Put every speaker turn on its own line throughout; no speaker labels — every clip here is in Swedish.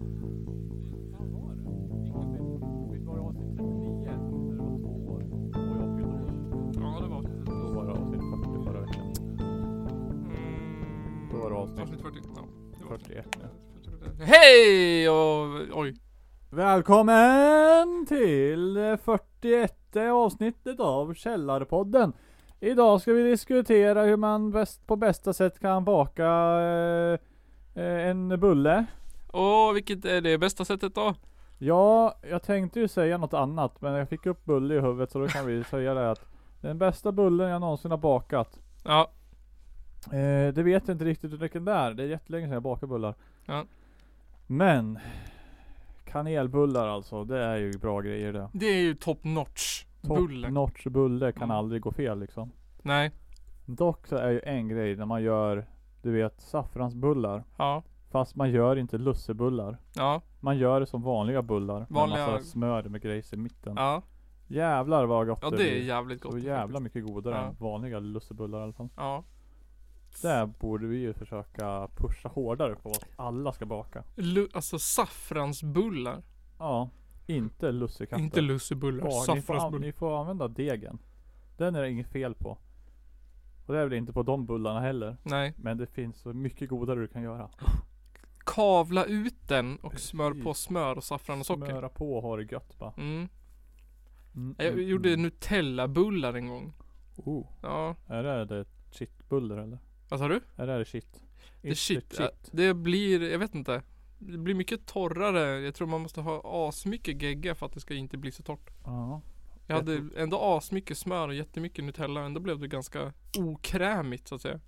Fan var det? Inget Visst var det avsnitt 39? När det var två år? Och jag fyllde år.
Ja, det var mm. avsnitt
Då var det avsnitt 40 förra veckan.
Mm.
Då var det avsnitt-
Avsnitt 40. Ja, det var
41 ja.
det. Hej och oj.
Välkommen till det 41 avsnittet av Källarpodden. Idag ska vi diskutera hur man bäst, på bästa sätt kan baka eh, eh, en bulle.
Åh, vilket är det bästa sättet då?
Ja, jag tänkte ju säga något annat men jag fick upp bulle i huvudet så då kan vi säga det att den bästa bullen jag någonsin har bakat.
Ja,
Eh, det vet jag inte riktigt vilken det är. Det är jättelänge sedan jag bakade bullar.
Ja.
Men kanelbullar alltså, det är ju bra grejer det.
det är ju top notch.
Top
Bulle.
notch bulle kan
Mm.
aldrig gå fel liksom.
Nej.
Dock så är ju en grej när man gör, du vet, saffransbullar.
Ja.
Fast man gör inte lussebullar.
Ja.
Man gör det som vanliga bullar.
Vanliga-
Med massa smör med grejs i mitten.
Ja.
Jävlar vad gott
Ja, det är jävligt gott.
Så jävla mycket godare
Ja.
än vanliga lussebullar i alla fall.
Ja.
Där borde vi ju försöka pusha hårdare på att alla ska baka.
Lu- alltså saffransbullar.
Ja, inte lussekatter.
Inte
ja,
lussebullar.
ni, får an-
saffransbullar.
ni får använda degen. Den är det inget fel på. Och det är väl inte på de bullarna heller.
Nej.
Men det finns så mycket godare du kan göra.
Kavla ut den och smör på
Precis.
smör och saffran och socker.
Smöra på och ha det gött bara.
Mm.
Mm,
Jag
mm,
gjorde
mm.
Nutella-bullar en gång.
Oh,
Ja.
är det det shitbuller eller?
Vad sa du?
Är det det shit?
Det,
It's
shit,
the
ja, det blir, jag vet inte. Det blir mycket torrare. Jag tror man måste ha asmycket gegga för att det ska inte bli så torrt.
Ja.
Jag hade ändå asmycket smör och jättemycket Nutella. Ändå blev det ganska okrämigt så att säga.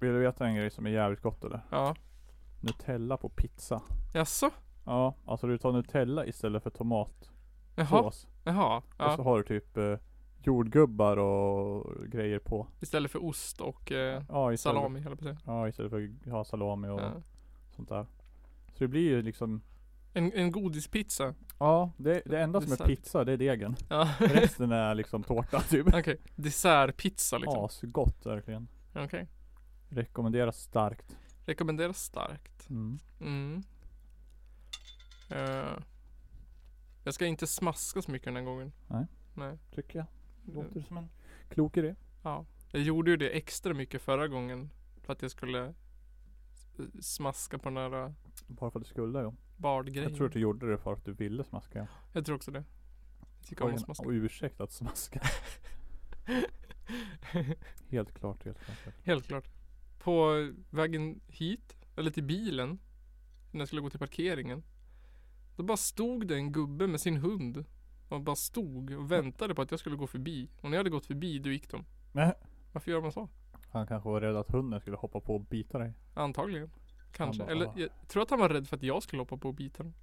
Vill du veta en grej som är jävligt gott eller?
Ja.
Nutella på pizza.
Jaså?
Ja, alltså du tar Nutella istället för tomatsås.
Jaha. Jaha.
Och så
Ja.
har du typ eh, jordgubbar och grejer på.
Istället för ost och eh,
Ja, istället,
salami höll jag på att säga.
Ja, istället för att ha salami och
Ja.
sånt där. Så det blir ju liksom
En, en godispizza.
Ja, det, det enda som är
Dessert.
pizza det är degen.
Ja.
Resten är liksom tårta typ.
Okej. Dessertpizza liksom.
Asgott verkligen.
Okej.
Rekommenderas starkt.
Rekommenderas starkt.
Mm.
Mm. Eh, jag ska inte smaska så mycket den här gången.
Nej.
Nej.
Tycker jag. Låter som en klok idé.
Ja, jag gjorde ju det extra mycket förra gången för att jag skulle eh, smaska på den här äh,
Bara för att du skulle ja.
bardgrejen.
Jag tror typ- att du gjorde det för att du ville smaska. ja.
jag tror också det. Jag tycker
Det var
om
ju
att
en
smaska.
ursäkt att smaska. helt klart, helt klart. helt klart.
Helt klart. På vägen hit, eller till bilen, när jag skulle gå till parkeringen. Då bara stod det en gubbe med sin hund. Och bara stod
Mm.
och väntade på att jag skulle gå förbi. Och när jag hade gått förbi, då gick de.
Nej.
Varför gör man så?
Han kanske var rädd att hunden skulle hoppa på och bita dig.
Antagligen. Kanske.
bara,
Eller
"Ah."
jag tror att han var rädd för att jag skulle hoppa på och bita den.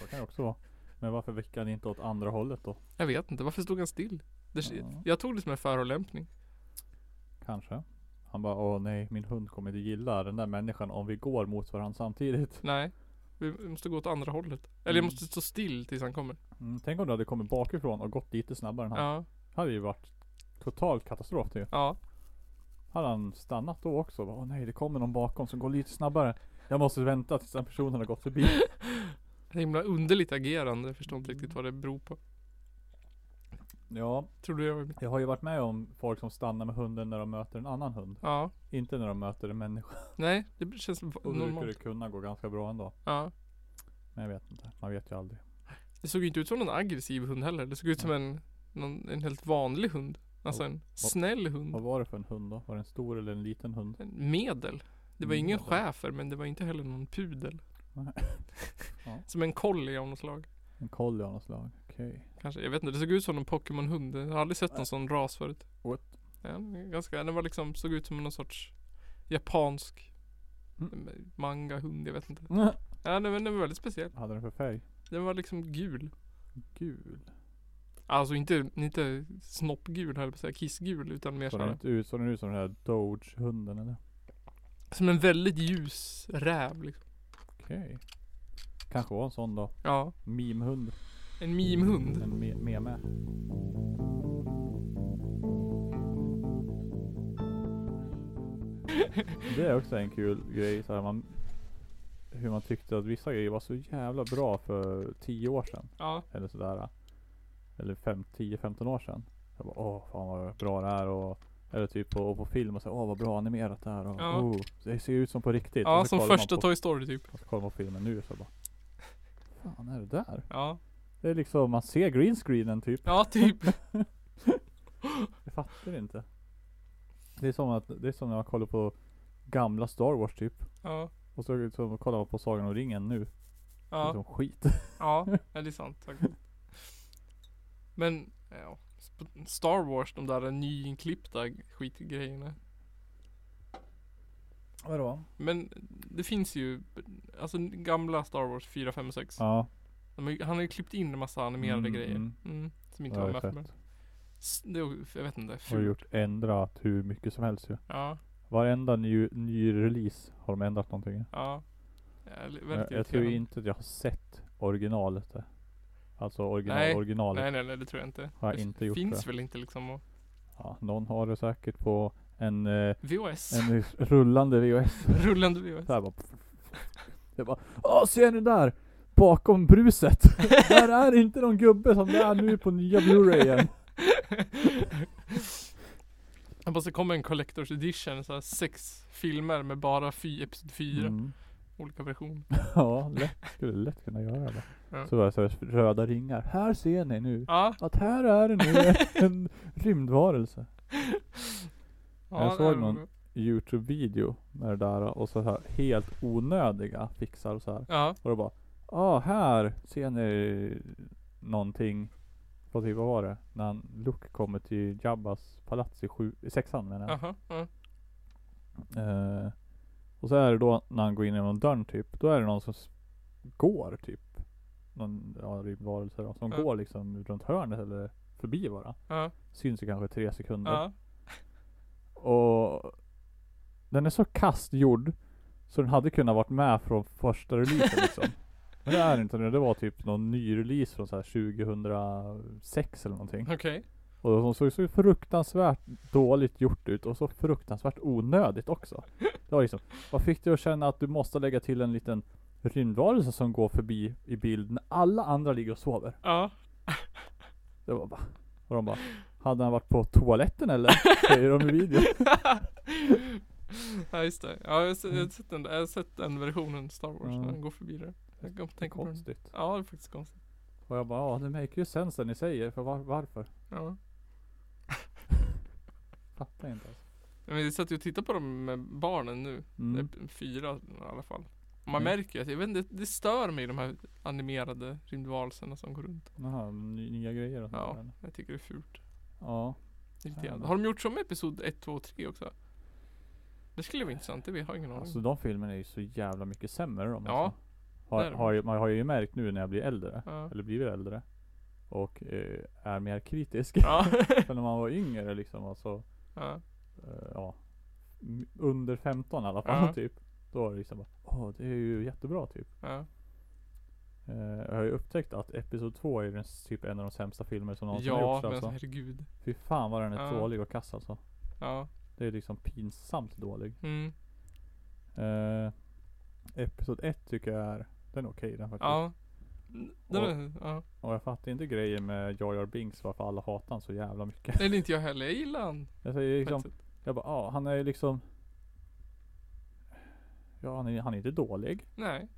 Så kan det också vara. Men varför vickade han inte åt andra hållet då?
Jag vet inte, varför stod han still? Det,
Ja.
Jag tog det som en förolämpning.
Kanske. Han bara, åh nej, min hund kommer inte gilla den där människan om vi går mot varandra samtidigt.
Nej, vi vi måste gå åt andra hållet. Eller
Mm.
jag måste stå still tills han kommer.
Mm, tänk om du hade kommit bakifrån och gått lite snabbare än han.
Ja,
hade ju varit total katastrof det ju.
ja.
Hade han stannat då också? Åh nej, det kommer någon bakom som går lite snabbare. Jag måste vänta tills den personen har gått förbi.
Det är himla underligt agerande. Jag förstår inte riktigt vad det beror på.
Ja,
Tror du jag var...
jag har ju varit med om folk som stannar med hunden när de möter en annan hund.
Ja.
Inte när de möter en människa.
Nej, det känns v-
Och då brukar det
normalt.
kunna gå ganska bra ändå.
Ja.
Men jag vet inte. Man vet ju aldrig.
Det såg ju inte ut som någon aggressiv hund heller. Det såg ut som en, någon, en helt vanlig hund. Alltså en snäll
Vad
hund.
var det för en hund då? Var det en stor eller en liten hund?
En medel. Det var ingen
Medel.
schäfer men det var inte heller någon pudel.
Mm, Nej. Ja.
Som en collie av något slag.
En collie av något slag. Okej.
Kanske, jag vet inte. Det såg ut som en Pokémon-hund. Jag har aldrig sett någon sån ras förut.
What?
Ja, den är ganska, den var liksom, såg ut som någon sorts japansk
Mm.
manga-hund, jag vet inte. Ja, den, var- den var väldigt speciell.
Hade den för färg?
Den var liksom gul.
Gul.
Alltså inte, inte snoppgul höll jag på att säga, kissgul utan mer
Såg den
såhär.
inte ut, såg den ut som den här Doge-hunden eller?
Som en väldigt ljus räv liksom.
Okej. Kanske var en sån då.
Ja,
Mimhund.
en mimhund.
En me- meme. Det är också en kul grej så här man hur man tyckte att vissa grejer var så jävla bra för 10 år sedan.
Ja,
Eller sådär. Eller fem- 10-15 år sedan. Jag bara, åh fan vad bra det här och eller typ på, på film och så, åh vad bra animerat det här och
Ja.
oh, det ser ut som på riktigt.
ja
Och så
som
kollar man
första
på,
Toy Story typ.
Och så kollar man på filmen nu och så bara, fan är det där?
Ja,
Det är liksom, man ser greenscreenen typ.
ja typ.
Jag fattar inte. Det är som att, det är som när man kollar på gamla Star Wars typ.
Ja,
Och så, så kollar man på Sagan om ringen nu. Det är
ja,
som skit.
ja, ja det är sant. faktiskt. Men, ja. Sp- Star Wars, de där nyinklippta skitgrejerna.
Vadå?
Men det finns ju, alltså gamla Star Wars 4, 5 och 6.
Ja.
De har ju- han har ju klippt in en massa animerade
Mm,
grejer.
mm.
Mm, som inte
Ja,
var
det
med
är
från början.
fett.
S- Det är, jag vet inte,
Har
fult.
gjort ändrat hur mycket som helst ju.
Ja,
Varenda ny, ny release har de ändrat någonting.
ja. Väldigt
Jag, jag tror
irriterande.
inte att jag har sett originalet. där. Alltså original,
Nej.
originalet.
Nej, nej, nej, det tror jag inte.
Har jag
det f-
inte gjort
finns
det.
väl inte liksom och...
Ja, någon har det säkert på en, eh,
VHS.
en rullande VHS.
Rullande VHS.
Så här bara. Jag bara, åh ser ni där? Bakom bruset. där är inte någon gubbe som det är nu på nya blu-rayen.
Jag bara, så kommer en collector's edition, så här sex filmer med bara fy, episod 4.
Mm.
Olika versioner.
Ja, lätt, skulle lätt kunna göra det.
Ja.
Så var det så här, röda ringar. Här ser ni nu.
Ja,
Att här är det nu en rymdvarelse.
ja
Jag såg
det är
någon.
nog-
Youtube-video med det där och så här helt onödiga fixar och så här.
Ja,
Och då bara, ah här ser ni någonting. På typ, vad var det? När han, Luke kommer till Jabbas palats i, sju, i sexan menar jag.
aha, ja.
Eh, och så är det då när han går in genom dörren typ. Då är det någon som s- går typ. Någon ja, rymdvarelse då. Som
Ja.
går liksom runt hörnet eller förbi bara.
Ja,
Syns i kanske tre sekunder.
ja.
Och den är så kastgjord så den hade kunnat varit med från första releasen liksom. Men det är inte nu. Det var typ någon ny release från så här 2006 eller någonting.
Okej.
Och de såg så fruktansvärt dåligt gjort ut och så fruktansvärt onödigt också. Det var liksom, vad fick dig att känna att du måste lägga till en liten rymdvarelse som går förbi i bild när alla andra ligger och sover?
Ja.
Det var bara, och de bara, hade han varit på toaletten eller? Säger de i videon.
ja just det. Ja, jag, har se- jag, har
Mm.
sett den, jag har sett den versionen Star Wars
Ja.
när den går förbi där. Jag kommer tänka på den.
Mm. Konstigt.
Ja det är faktiskt konstigt.
Och jag bara, ja det make ju sense det ni säger, för var, varför?
Ja.
Fattar inte alltså.
Men vi satt ju och tittade på dem med barnen nu.
Mm.
Det är Typ fyra i alla fall. Och Man
Mm.
märker ju att jag vet inte, det, det stör mig de här animerade rymdvarelserna som går runt.
Jaha, ny, nya grejer och sånt
Ja.
där, eller?
Jag tycker det är fult.
ja.
Irriterande. Har de gjort så med episod 1, 2 och 3 också? Det skulle vara intressant, det vi har ingen aning
Alltså
om.
de filmerna är ju så jävla mycket sämre de
Ja,
alltså.
det
har,
är de.
har, ju- Man har ju märkt nu när jag blir äldre,
Ja.
eller blivit äldre. Och eh, är mer kritisk.
Ja.
För när man var yngre liksom, alltså.
ja.
Eh, ja. m- Under 15 i alla fall
Ja.
typ. Då var det liksom bara, åh det är ju jättebra typ.
ja.
Eh, jag har ju upptäckt att Episod 2 är ju den s- typ en av de sämsta filmer som någonsin har
Ja,
gjorts
men
alltså.
herregud.
Fy fan vad den är
Ja.
dålig och kass alltså.
Ja.
Det är liksom pinsamt dålig.
Mm.
Eh, Episod 1 tycker jag är, den är okej den faktiskt.
Ja. Det
Och-
var, ja.
Och jag fattar inte grejen med Jar Jar Binks varför alla hatar han så jävla mycket.
Nej det är inte jag heller, jag gillar han.
Jag säger
på ett
liksom,
sätt.
jag bara, ja han är ju liksom Ja han är, han är inte dålig.
Nej.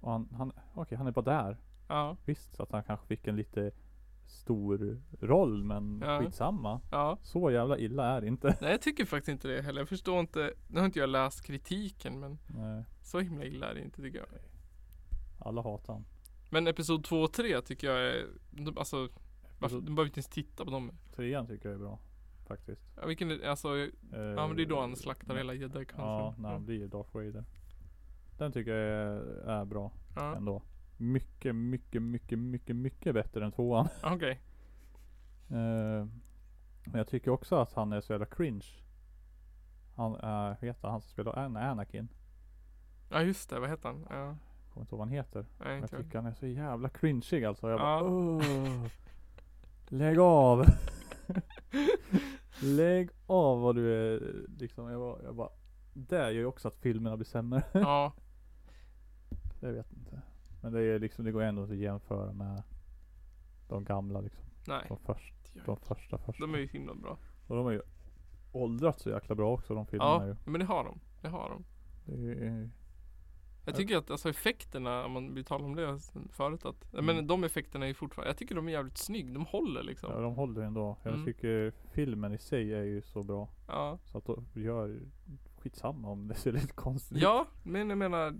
Och han, han okej han är bara där.
Ja.
Visst så att han kanske fick en lite stor roll men
Ja.
skitsamma.
Ja.
Så jävla illa är det inte.
Nej jag tycker faktiskt inte det heller. Jag förstår inte. Nu har inte jag läst kritiken men
Nej,
så himla illa är det inte tycker jag.
alla hatar han.
Men episod 2 och 3 tycker jag är, de- alltså varför,
Episod-
du behöver inte ens titta på dem.
Trean tycker jag är bra. Faktiskt.
Ja, vilken, är- alltså, ja men det är då han slaktar hela Mm. jedi
Eh, Ja, när han blir Darth Vader. Den tycker jag är, är bra
Ja,
ändå. Mycket, mycket, mycket, mycket, mycket bättre än tvåan.
okej.
Eh, Men jag tycker också att han är så jävla cringe. Han, äh, heter han som spelar An- Anakin?
Ja just det, vad heter han? Ja,
Kommer inte ihåg vad han heter.
nej
Men jag
inte jag.
tycker han är så jävla cringeig alltså. Jag
Ja.
bara "Åh, Lägg av! Lägg av vad du är liksom. Jag bara, jag bara det gör ju också att filmerna blir sämre.
Ja.
Jag vet inte. Men det, är liksom, det går ändå att jämföra med de gamla liksom.
Nej,
De, först,
det gör jag
de
inte.
första första.
de är ju himla bra.
Och de har ju åldrats så jäkla bra också de filmerna
Ja,
ju.
men det har de. Det har de.
Det är,
Jag
Ja.
tycker att alltså, effekterna, om man vi talade om det sen förut, att
Mm.
men de effekterna är ju fortfarande, jag tycker de är jävligt snygg. De håller liksom.
ja,
Ja.
de håller ändå. Jag
Mm.
tycker filmen i sig är ju så bra. Så att de gör skitsamma om det ser lite konstigt ut.
Ja, men jag menar,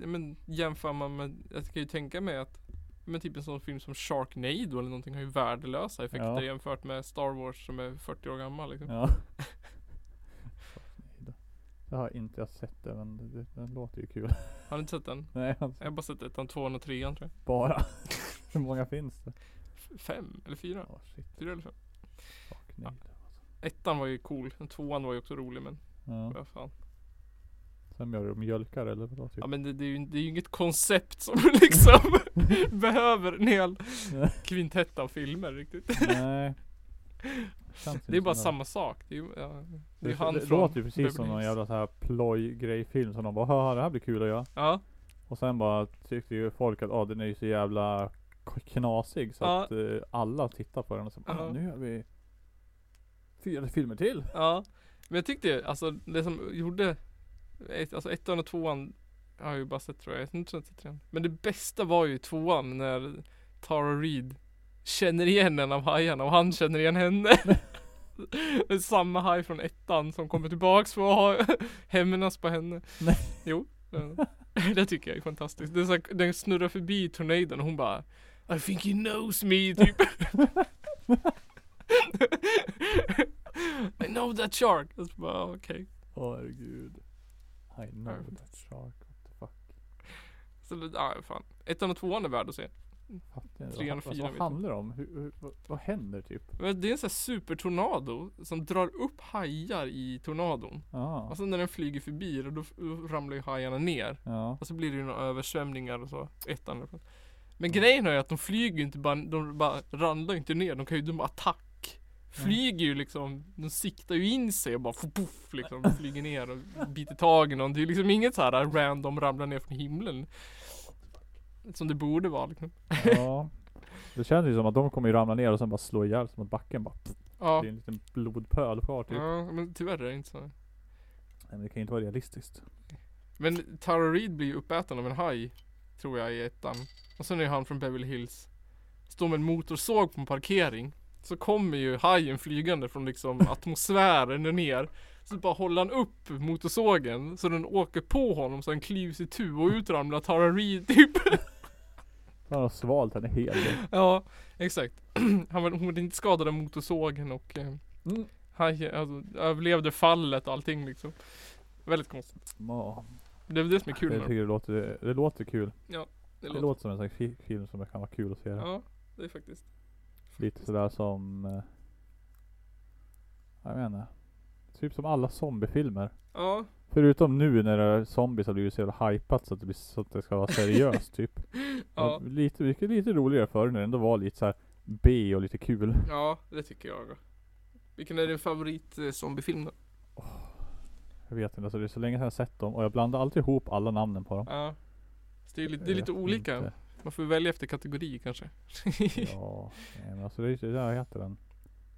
det- men jämför man med, jag kan ju tänka mig att men typ en sån film som Sharknado eller någonting har ju värdelösa effekter
Ja.
jämfört med Star Wars som är 40 år gammal liksom.
Ja. Det har inte jag sett det men det, den låter ju kul.
Har ni inte sett den?
Nej alltså,
Jag har bara sett ettan, tvåan och trean tror jag.
bara. Hur många finns det?
F- Fem eller fyra?
Ja shit.
Fyra eller fem?
Fuck, nej, det var så.
Ettan var ju cool, den tvåan var ju också rolig men
Ja.
vad fan.
Sen gör de mjölkar eller vadå typ?
Ja men det, det, är ju, det är ju inget koncept som liksom behöver en hel
Nej.
kvintett av filmer riktigt.
Nej. Känns
Det är
inte
bara
som
samma sak. Det är ju, ja, det är ju
Det,
han
det
från
låter ju precis som
Beverly
någon
Hills.
jävla så här ploj-grej-film som de bara Haha, det här blir kul att göra.
Ja.
Och sen bara tyckte ju folk att ah, den är ju så jävla k- knasig så
Ja.
att eh, alla tittar på den och så bara,
Ja.
ah, nu gör vi fyra filmer till.
Ja, men jag tyckte ju, alltså det som gjorde, ett, alltså ettan och tvåan har jag ju bara sett tror jag, jag har inte sett trean. Men det bästa var ju tvåan när Tara Reid känner igen en av hajarna och han känner igen henne. Det är samma haj från ettan som kommer tillbaks för att ha hämnas på henne.
Nej.
Jo. ja. Det tycker jag är fantastiskt. Det är så här, den snurrar förbi tornaden och hon bara I think he knows me typ. I know that shark. Och så bara, "Ah, okej.
Åh herregud. I know
Ja.
that shark, what the fuck.
Så det, ah, fan. Ettan och tvåan är värd att se.
Fattar ni?
Trean och
Vad- Alltså,
fyran vet
vad handlar det om? Hur, hur, vad, vad händer typ?
Men det är en sån här supertornado som drar upp hajar i tornadon.
Ja.
Och sen när den flyger förbi då, då ramlar ju hajarna ner.
Ja.
Och så blir det ju några översvämningar och så. Ettan i alla fall. Men grejen är ju att de flyger ju inte bara, de bara ramlar ju inte ner. De kan ju, de bara attack. Flyger ju liksom, de siktar ju in sig och bara poff liksom. De flyger ner och biter tag i någon. Det är ju liksom inget så här random ramlar ner från himlen. Som det borde vara liksom.
ja. Det känns ju som att de kommer ju ramla ner och sen bara slå ihjäl sig mot backen bara.
Ja.
Det är en liten blodpöl kvar typ.
ja, men tyvärr är det inte så.
Nej, men det kan ju inte vara realistiskt.
Men Tara Reid blir ju uppäten av en haj Tror jag i ettan Och sen är han från Beverly Hills Står med en motorsåg på en parkering Så kommer ju hajen flygande från liksom atmosfären ner Så bara håller han upp motorsågen Så den åker på honom så han klyvs i tu och ut ramlar Tara Reid typ
Han har svalt henne helt.
Ja exakt han var, Hon var inte skadad av motorsågen och eh,
Mm.
hajen alltså, överlevde fallet och allting liksom Väldigt konstigt
Ja.
Det är väl det som är
Jag
kul med dem.
tycker det låter, det låter kul.
Det
Det låter som en sån här fi- film som kan vara kul att se.
Ja det är faktiskt
Lite sådär som... eh, Jag menar. Typ som alla zombiefilmer.
Ja
Förutom nu när det är zombies har blivit så jävla hypat så att det, blir, så att det ska vara seriöst typ.
Ja.
Och Lite, vilket är lite roligare förr när det ändå var lite såhär B och lite kul.
Ja, det tycker jag. Vilken är din favorit eh, zombiefilm då?
Jag vet inte, alltså det är så länge sedan jag sett dem och jag blandar alltid ihop alla namnen på dem.
Ja. Så det är, li- det är
Jag
lite
vet
olika.
Eh, inte.
Man får välja efter kategori kanske.
Ja, nej, men alltså det är det där heter den.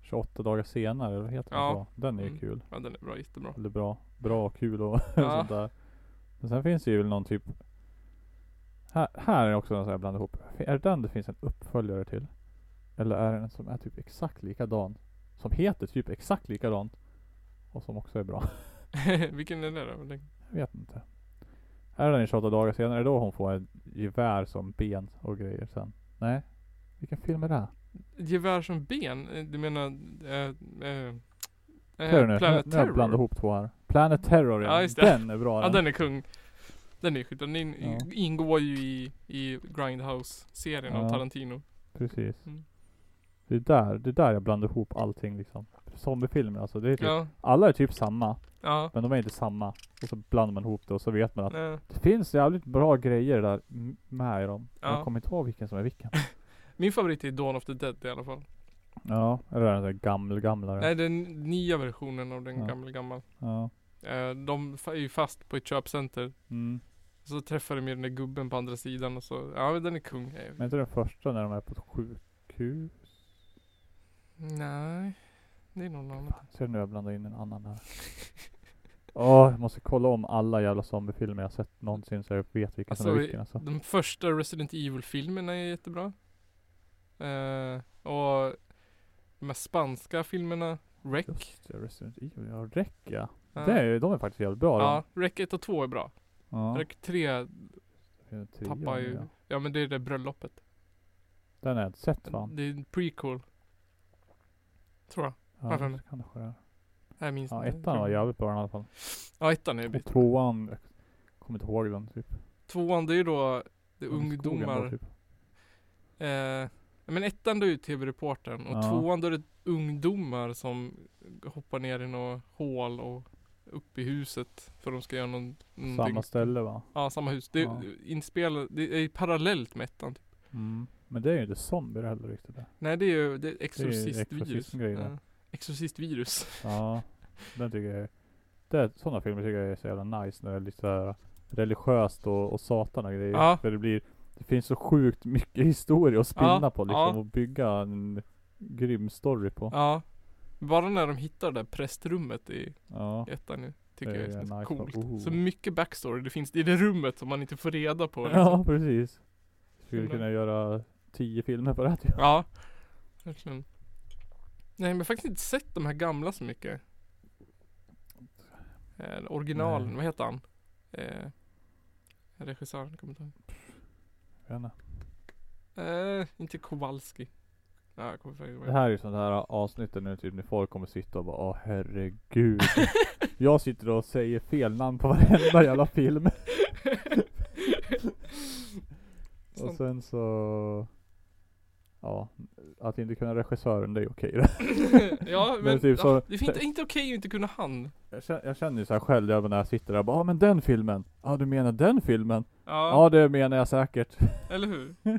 28 dagar senare, eller vad heter
Ja.
den så? Den är ju
Mm.
kul.
Ja, den är bra. Jättebra.
Eller bra, bra och kul och
Ja.
sånt där. Men sen finns det ju väl någon typ här, här är också en sån här blandad ihop. Är det den det finns en uppföljare till? Eller är det en som är typ exakt likadan? Som heter typ exakt likadant? Och som också är bra?
Vilken är det då? Den-
Jag vet inte. Är det den i 28 dagar senare då hon får ett gevär som ben och grejer sen? Nej? Vilken film är det? här?
Gevär som ben? Eh, Du menar... Äh, äh,
Ser du nu? nu, nu har jag blandat ihop två här. Planet Terror
Ja,
ja.
just det.
Den är bra
Ja, den är kung. Den är skit. Den in,
Ja.
ingår ju i, i Grindhouse-serien av
Ja.
Tarantino.
Precis.
Mm.
Det är där, det är där jag blandar ihop allting liksom. Zombiefilmer alltså. Det är typ,
Ja.
Alla är typ samma,
Ja. Eh,
men de är inte samma. Och så blandar man ihop det och så vet man att
Nej.
det finns jävligt bra grejer där m- med i dem.
Ja.
Jag kommer inte ihåg vilken som är vilken.
Min favorit är Dawn of the Dead i alla fall.
ja, eller den där gamla, gamla.
Nej, den nya versionen av den
Ja.
gamla gamla.
Ja.
Eh, De fa- är ju fast på ett köpcenter
Mm.
Så träffade de ju den där gubben på andra sidan och så, ja men den är kung. Eh,
Men inte den första när de är på ett sjukhus?
Nej, det är nog någon annan.
Fan, ser du nu jag blandar in en annan här. Åh, jag måste kolla om alla jävla zombiefilmer jag sett någonsin så jag vet vilken som är
Alltså,
vilken alltså.
De första Resident Evil-filmerna är jättebra. Eh, och de här spanska filmerna, Rec.
Just det, Resident Evil, ja Rec ja.
Ja.
Det är, de är faktiskt jävligt bra de.
Ja, Rec 1 och 2 är bra.
Ja.
Rec 3
Den trean,
tappar ju,
ja.
ja men det är det bröllopet.
Den har jag inte sett fan.
Det är en prequel. Tror jag.
Ja,
Varför
så
inte?
kanske det är.
Nej, jag minns
ja
inte.
ettan var jävligt bra i alla fall.
Ja, ettan är
Och
bit.
tvåan, jag kommer inte ihåg den typ.
Tvåan, det är ju då det är
Den i skogen
ungdomar.
då, typ.
Eh, men ettan då är ju TV-reportern och
Ja.
tvåan då är det ungdomar som hoppar ner i något hål och upp i huset för de ska göra någon, någonting.
Samma ställe va?
Ja, samma hus. Det är
Ja.
inspelat, det är ju parallellt med ettan. Typ.
Mm. Men det är ju inte zombier heller riktigt. Där.
Nej, det är ju det är exorcistvirus.
exorcismgrejer där.
Ja. Exorcistvirus.
Ja, den tycker jag är... Det, sådana filmer tycker jag är så jävla nice när det är lite såhär religiöst och, och satan och grejer.
Ja.
Där det blir, det finns så sjukt mycket historia att spinna
Ja,
på liksom
ja.
och bygga en grym story på. Ja,
Ja. Bara när de hittar det där prästrummet i
ja.
ettan nu. Tycker
Det
jag är,
är
så
nice.
coolt.
Oh.
Så mycket backstory det finns i det rummet som man inte får reda på. liksom.
precis. Skulle
Himla-
kunna göra tio filmer på det här typ.
Ja, verkligen. Liksom. Nej men jag har faktiskt inte sett de här gamla så mycket. Eh, originalen,
Nej.
vad heter han? Eh, regissören, jag kommer inte ihåg.
Jag vet inte.
Eh, inte Kowalski. Nej, jag kommer inte ihåg. vad
Det
han-
här är ju sånt här avsnittet nu typ när folk kommer sitta och bara åh herregud. jag sitter och säger fel namn på varenda jävla film. Och
Sånt.
sen så... Ja, att inte kunna regissören det är okej det.
ja men,
men typ så-
ah, det är inte, inte okej att inte kunna han.
Jag känner, jag känner ju såhär själv jag bara när jag sitter där bara ah, men den filmen! Ja ah, du menar den filmen? Ja
Ja,
det menar jag säkert.
eller hur? eh,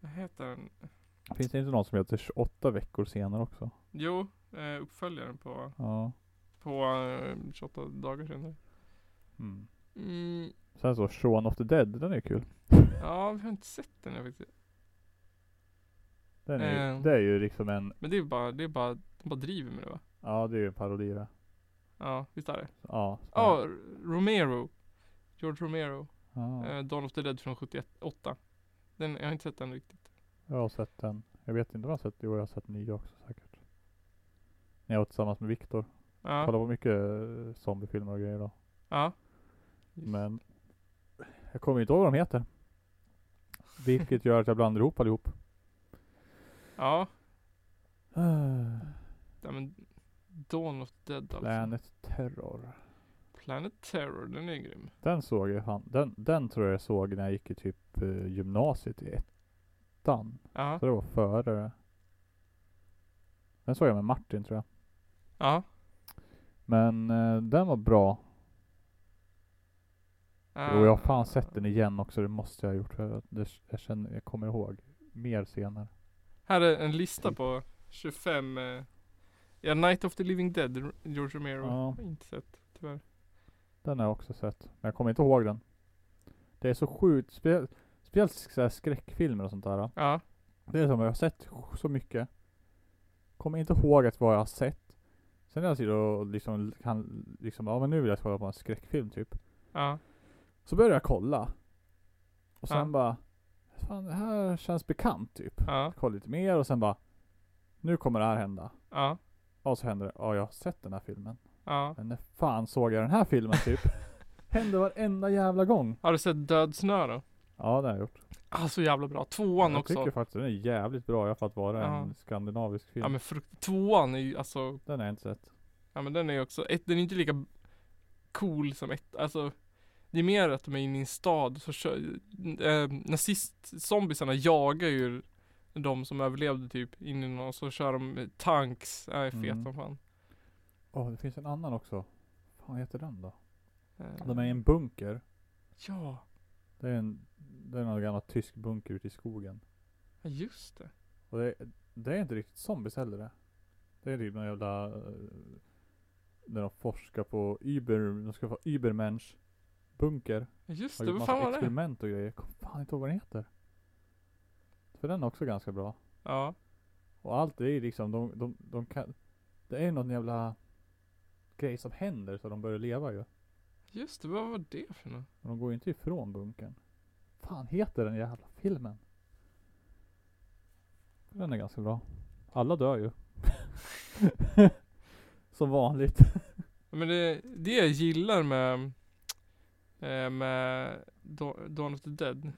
vad heter den?
Finns det inte någon som heter 28 veckor senare också?
Jo, eh, uppföljaren på,
Ja.
på eh, 28 dagar senare.
Mm.
Mm,
Sen så Shaun of the Dead, den är ju kul.
ja, vi har inte sett den här faktiskt.
Den är,
Eh.
ju, det är ju liksom en,
Men det är bara, det är bara, de bara driver med det va?
ja det är ju en parodi det.
Ja, visst är det?
Ja.
Ja, Romero. George Romero.
ja.
Eh, Dawn of the Dead från 78. Den, jag har inte sett den riktigt.
Jag har sett den. Jag vet inte om jag har sett, jo jag har sett nio också säkert. När jag var tillsammans med Viktor.
Ja.
Kollade på mycket eh, zombiefilmer och grejer då.
Ja.
Men jag kommer inte ihåg vad de heter. Vilket gör att jag blandar ihop allihop.
Ja.
Ah,
ja men Dawn of the Dead alltså.
Planet Terror.
Planet Terror, den är grym.
Den såg jag fan. Den, den tror jag jag såg när jag gick i typ eh, gymnasiet i ettan.
Ja.
Så det var före. Den såg jag med Martin tror jag.
Ja.
Men eh, den var bra.
Eh,
Jo, jag har fan sett den igen också. Det måste jag ha gjort. För att det, jag, känner, jag kommer ihåg mer senare.
Här är en lista på 25 eh, Ja, Night of the Living Dead, R- George Romero.
Ja.
Har inte sett, tyvärr.
Den har jag också sett. Men jag kommer inte ihåg den. Det är så sjukt. spe- Speciellt så här skräckfilmer och sånt där.
Ja,
Det är som jag har sett så mycket. Kommer inte ihåg att vad jag har sett. Sen när jag sitter och liksom kan liksom, ja men nu vill jag kolla på en skräckfilm typ.
ja,
Så börjar jag kolla. Och sen
Ja.
bara, fan det här känns bekant typ.
ja,
Kolla lite mer och sen bara, nu kommer det här hända.
ja,
Ja så händer det, ja jag har sett den här filmen.
ja.
Men när fan såg jag den här filmen typ? Hände varenda jävla gång.
Har du sett Dödsnö då?
Ja det har jag gjort.
Ah, så jävla bra. Tvåan
jag
också.
tycker faktiskt den är jävligt bra i alla fall att vara
Ja.
en skandinavisk film.
Ja men frukt. Tvåan är ju alltså,
Den har jag inte sett.
ja men den är ju också, ett, den är inte lika cool som ett, alltså det är mer att de är inne i en stad så kör, eh, nazist-zombisarna jagar ju de som överlevde typ in i någon och så kör de tanks, nej fet
Mm.
som fan.
Åh det finns en annan också. Vad heter den då?
Eh,
De är i en bunker.
Ja,
Det är en, det är någon gammal tysk bunker ute i skogen.
ja, just det.
Och det, det är inte riktigt zombies heller det. Det är typ någon jävla eh, När de forskar på Uber, de ska få Ubermensch bunker.
Just
Har
det,
gjort
vad
massa
fan var det?
experiment och grejer. Jag kommer fan inte ihåg vad den heter. För den är också ganska bra.
Ja.
Och allt det är liksom, de, de, de kan, det är någon jävla grej som händer så de börjar leva ju.
Just det, vad var det för något?
Men de går ju inte ifrån bunkern. Fan heter den jävla filmen? Den är ganska bra. Alla dör ju. som vanligt.
Men det, det jag gillar med, eh, med Da- Dawn of the Dead,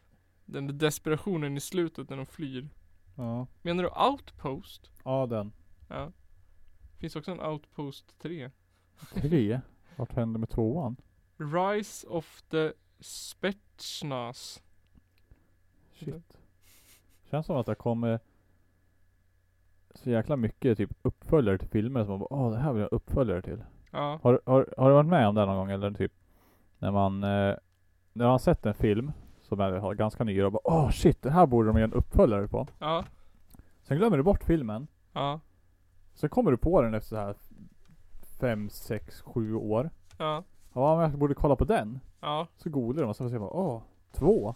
den där desperationen i slutet när de flyr.
Ja,
Menar du Outpost?
ja den.
Ja. Finns också en Outpost 3.
Tre. Vart hände med tvåan?
Rise of the Spetsnaz.
Shit. Känns som att det kommer så jäkla mycket typ uppföljare till filmer som man bara åh det här vill jag ha uppföljare till.
Ja.
Har, har, har du varit med om det någon gång eller typ när man eh, när man har sett en film som är har ganska ny och bara åh shit den här borde de göra en uppföljare på.
Ja.
Sen glömmer du bort filmen.
Ja.
Sen kommer du på den efter så här fem, sex, sju år.
Ja.
Ja men jag borde kolla på den.
Ja.
Så googlar de och så ser man åh två.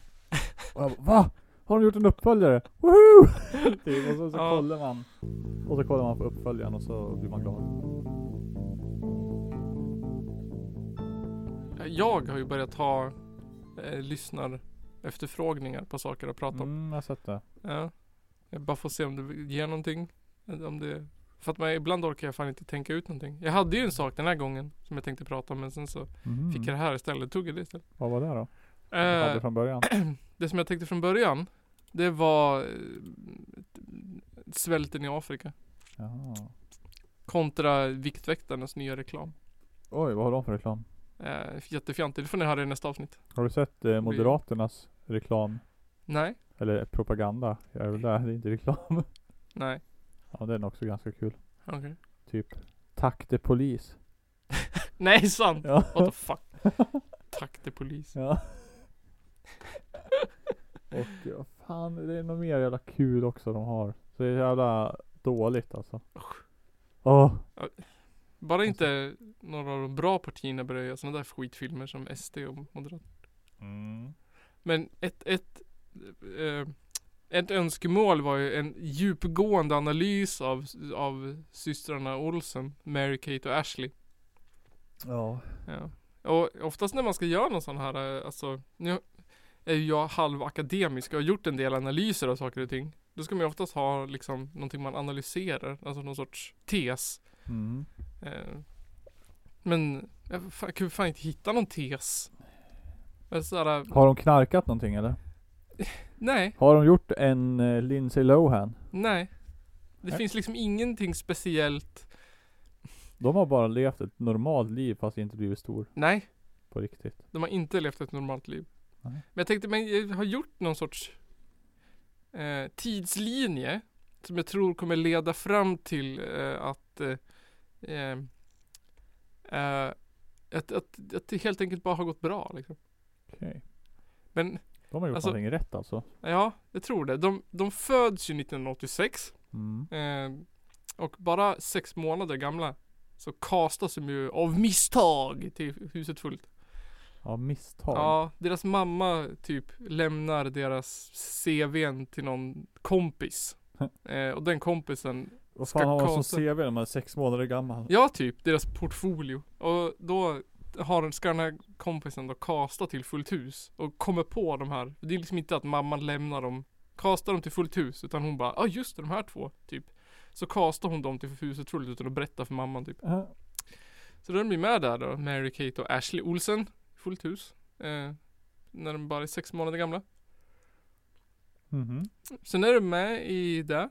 Och jag bara, va? Har de gjort en uppföljare? Woho! typ, och så, så
Ja.
kollar man. Och så kollar man på uppföljaren och så blir man glad.
Jag har ju börjat ha eh, lyssnar efterfrågningar på saker att prata om.
Mm, jag har sett det.
Ja. Jag bara får se om det ger någonting. Om det... För att man, ibland orkar jag fan inte tänka ut någonting. Jag hade ju en sak den här gången som jag tänkte prata om men sen så
Mm.
fick jag det här istället. Tog jag det istället.
Vad var det då? Du
Eh,
hade från början?
det som jag tänkte från början. Det var eh, svälten i Afrika.
Jaha.
Kontra Viktväktarnas nya reklam.
Oj, vad har de för reklam?
Eh, jättefjantigt. Det får ni höra i nästa avsnitt.
Har du sett eh, Moderaternas reklam?
Nej.
Eller eh, propaganda? Jag är väl där, det är inte reklam.
Nej.
ja, den är också ganska kul.
Okej.
Typ, tack till polis.
Nej sant!
Ja.
What the fuck. Tack till polis.
ja. Och ja, fan, det är nog mer jävla kul också de har. Så det är jävla dåligt alltså. Åh,
Bara inte några av de bra partierna börjar göra sådana där skitfilmer som SD och Moderaterna. Men ett, ett, eh, ett önskemål var ju en djupgående analys av, av systrarna Olsen, Mary, Kate och Ashley.
Ja.
Ja. Och oftast när man ska göra någon sån här, eh, alltså, nu är ju jag halvakademisk och har gjort en del analyser av saker och ting. Då ska man ju oftast ha liksom någonting man analyserar, alltså någon sorts tes.
Mm.
Eh, Men jag fan, kunde fan inte hitta någon tes. Alltså Men såhär,
Har de knarkat någonting eller?
nej,
Har de gjort en eh, Lindsay Lohan?
nej. Det
Nej.
finns liksom ingenting speciellt.
De har bara levt ett normalt liv fast inte blivit stor
Nej,
på riktigt.
de har inte levt ett normalt liv.
Nej.
Men jag tänkte, men jag har gjort någon sorts eh, tidslinje. Som jag tror kommer leda fram till eh, att, eh, eh, eh, att, att, att det helt enkelt bara har gått bra. Liksom.
Okej.
Men
De har gjort
Alltså-
någonting rätt alltså.
ja, jag tror det. De, de föds ju 1986.
Mm.
Eh, och bara sex månader gamla så kastas de ju av misstag till huset fullt.
Ja, misstag.
Ja, deras mamma typ lämnar deras CVn till någon kompis. Eh, och den kompisen,
Vad
ska
fan har man
kasta-
som CV när man är sex månader gammal?
ja typ deras portfolio. Och då har, ska den här kompisen då kasta till fullt hus och kommer på de här. Det är liksom inte att mamman lämnar dem, kastar dem till fullt hus utan hon bara, ja ah, just det, de här två typ. Så kastar hon dem till huset fullt utan att berätta för mamman typ.
Ja.
Så de blir med där då, Mary Kate och Ashley Olsen, fullt hus. Eh, när de bara är sex månader gamla.
Mhm.
Sen är de med i det.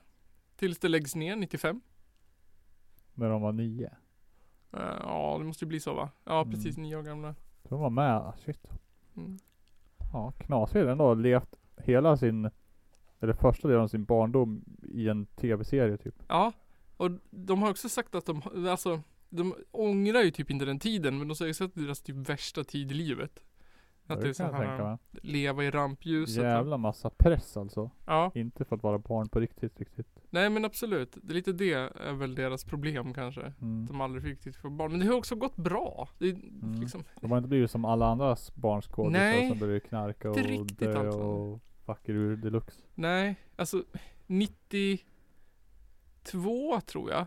Tills det läggs ner 95.
När de var nio.
Eh, ja, det måste ju bli så va? Ja,
Mm.
precis nio år gamla.
Så De var med. Ah, Shit.
Mm.
Ja, knasigt ändå. Levt hela sin, eller första delen av sin barndom i en tv-serie typ.
Ja, och de har också sagt att de, alltså, de ångrar ju typ inte den tiden, men de säger också att det är deras typ värsta tid i livet. Att det är så
kan jag tänka
här,
mig.
leva i rampljuset.
Jävla massa press alltså.
Ja.
Inte för att vara barn på riktigt riktigt.
Nej men absolut. Det är lite det är väl deras problem kanske. Att
Mm.
de aldrig fick riktigt få barn. Men det har också gått bra. Det är liksom,
De har inte blivit som alla andra barnskådisar
Nej.
som börjar knarka och
Inte riktigt,
dö
alltså.
och fucker ur deluxe.
nej, alltså 92 tror jag.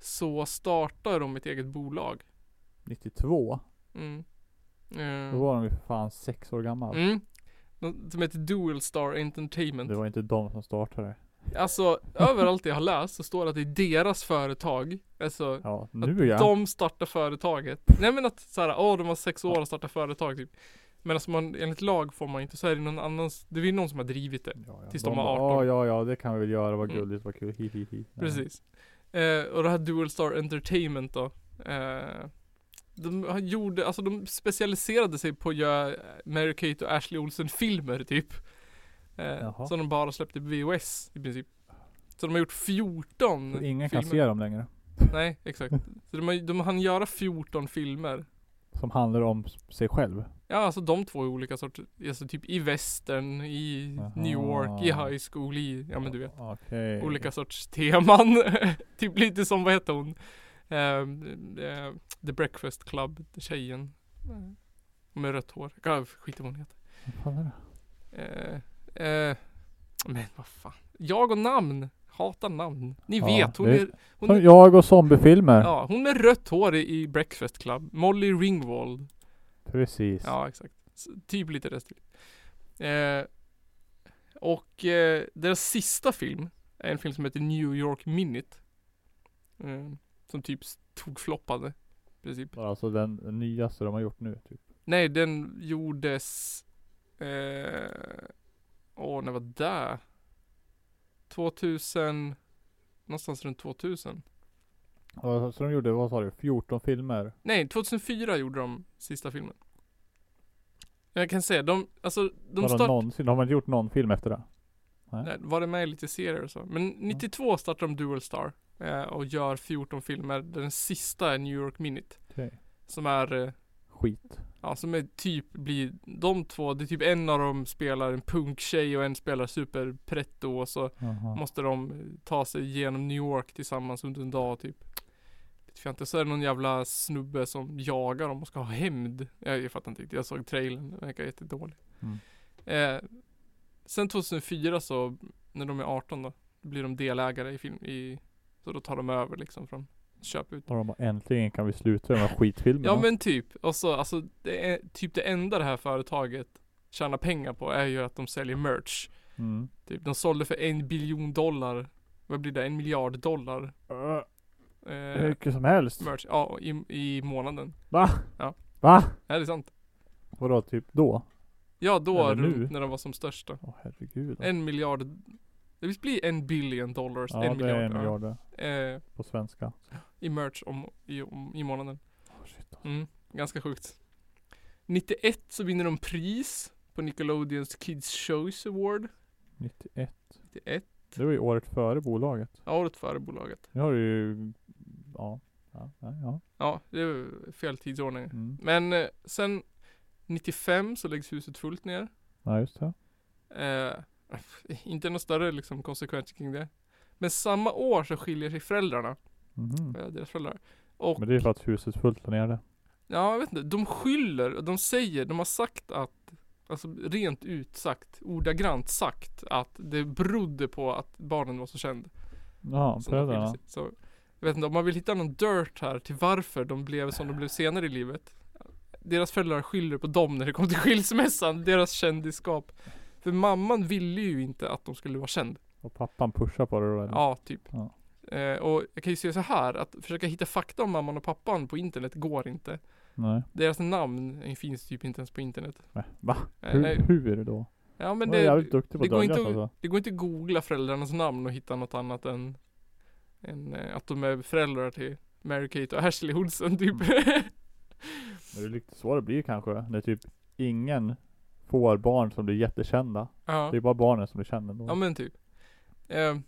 Så startade de ett eget bolag.
92?
Mm. Eh,
Då var de ju för fan sex år gammal.
mm. De- Som heter Dual Star Entertainment.
Det var inte de som startade.
Alltså överallt jag har läst så står det att det är deras företag. Alltså
Ja,
Att
nu ja.
de startar företaget. Nej men att såhär, åh de var sex år och startade företag typ. Men alltså man, enligt lag får man inte, så är det någon annans, det är ju någon som har drivit det.
Ja, ja.
tills de var
bara,
18.
Ja, ja, ja, det kan vi väl göra. Vad
Mm.
gulligt, vad kul. Hi, hi, hi. Nej.
Precis. Eh, och det här Dual Star Entertainment då. Eh, de har- gjorde, alltså de specialiserade sig på att göra Mary-Kate och Ashley Olsen filmer typ. Eh,
Jaha.
som de bara släppte på VHS i princip. Så de har gjort 14
Så ingen
filmer.
kan se dem längre.
Nej, exakt. Så de, har, de hann göra 14 filmer.
Som handlar om s- sig själv.
Ja, alltså de två är olika sorter. Alltså typ i västern, i
Jaha.
New York, i high school, i, ja men du vet.
Okej.
Olika sorts teman. typ lite som, vad heter hon? Ehm, eh, The Breakfast Club, tjejen. Mm. Med rött hår. Ja, skit i vad hon heter.
Vad fan är det?
Eh, eh, men vad fan. Jag och namn. Hatar namn. Ni
Ja,
vet, hon
det-
är, hon
Som
är
jag och zombiefilmer.
Ja, hon med rött hår i, i Breakfast Club. Molly Ringwald.
Precis.
Ja, exakt. S- Typ lite det stilen. eh, Och eh, deras sista film är en film som heter New York Minute. Eh, som typ s- tokfloppade. i Princip.
Bara Alltså den nyaste de har gjort nu typ.
Nej, den gjordes... Eh, åh, när var det? 2000... Någonstans runt 2000.
Och Så de gjorde, vad sa du, 14 filmer?
Nej, 2004 gjorde de sista filmen. Jag kan säga, de, alltså, de
har, de
start-
någonsin, har man inte gjort någon film efter det?
Nej, Eh, var det med i lite serier och så. Men 92 startar de Dual Star eh, och gör 14 filmer. Den sista är New York Minute.
Okej.
Som är, eh,
Skit.
ja som är typ blir, de två, det är typ en av dem spelar en punktjej och en spelar superpretto och så
Jaha.
måste de eh, ta sig igenom New York tillsammans under en dag typ. Lite fjantigt. Så är det någon jävla snubbe som jagar dem och ska ha hämnd. Jag, jag fattar inte riktigt. Jag såg trailern. Den verkar jättedålig.
Mm.
Eh, sen 2004 så, när de är 18 då, blir de delägare i film. I, så då tar de över liksom från köp ut.
Och de bara, äntligen kan vi sluta med de här skitfilmerna.
Ja men typ. Och så, alltså, det är, typ det enda det här företaget tjänar pengar på är ju att de säljer merch.
Mm.
Typ, de sålde för en biljon dollar. Vad blir det? En miljard dollar.
Ö, Hur
Eh,
mycket som helst.
merch. Ja, i, i månaden.
Va?
Ja.
Va?
Är det sant?
Vadå typ då?
Ja, då
Eller nu.
runt när de var som största.
Åh herregud.
En miljard. Det visst blir en billion dollars.
ja,
en
det är
miljard.
en miljard det,
Ja. Eh,
på svenska.
I merch om, i, om, i månaden.
Åh, shit. alltså.
Mm, ganska sjukt. 91 så vinner de pris på Nickelodeons Kids Choice Award.
91.
91.
Det var ju året före bolaget.
Ja, Året före bolaget.
Nu har du ju, ja. Ja, ja, ja.
Ja, det är fel tidsordning.
Mm.
Men eh, sen 95 så läggs huset fullt ner.
ja just det.
Eh, inte någon större liksom, konsekvens kring det. Men samma år så skiljer sig föräldrarna.
Mhm.
Eh, deras föräldrar. Och
Men det är för att huset fullt där nere.
ja, jag vet inte. De skyller, och de säger, de har sagt att Alltså rent ut sagt, ordagrant sagt att det berodde på att barnen var så kända.
Ja,
som de skiljer
föräldrarna.
sig. Så, jag vet inte, om man vill hitta någon dirt här till varför de blev som de blev senare i livet. Deras föräldrar skyller på dem när det kom till skilsmässan, deras kändisskap. För mamman ville ju inte att de skulle vara känd.
Och pappan pushar på det då eller?
Ja, typ.
Ja.
Eh, och jag kan ju säga så här, att försöka hitta fakta om mamman och pappan på internet går inte.
Nej.
Deras namn eh, finns typ inte ens på internet.
Nej. Va?
Eh,
Hur,
nej.
hur är det då?
Ja men
Men det, jävligt
det,
duktig på
det
att
går
dölja
inte att-
alltså.
det går inte att googla föräldrarnas namn och hitta något annat än, än eh, att de är föräldrar till Mary-Kate och Ashley Olsen
Mm.
typ.
Men det är lite så det blir kanske. När typ ingen får barn som blir jättekända.
Ja,
Det är bara barnen som blir kända ändå.
ja men typ. Eh,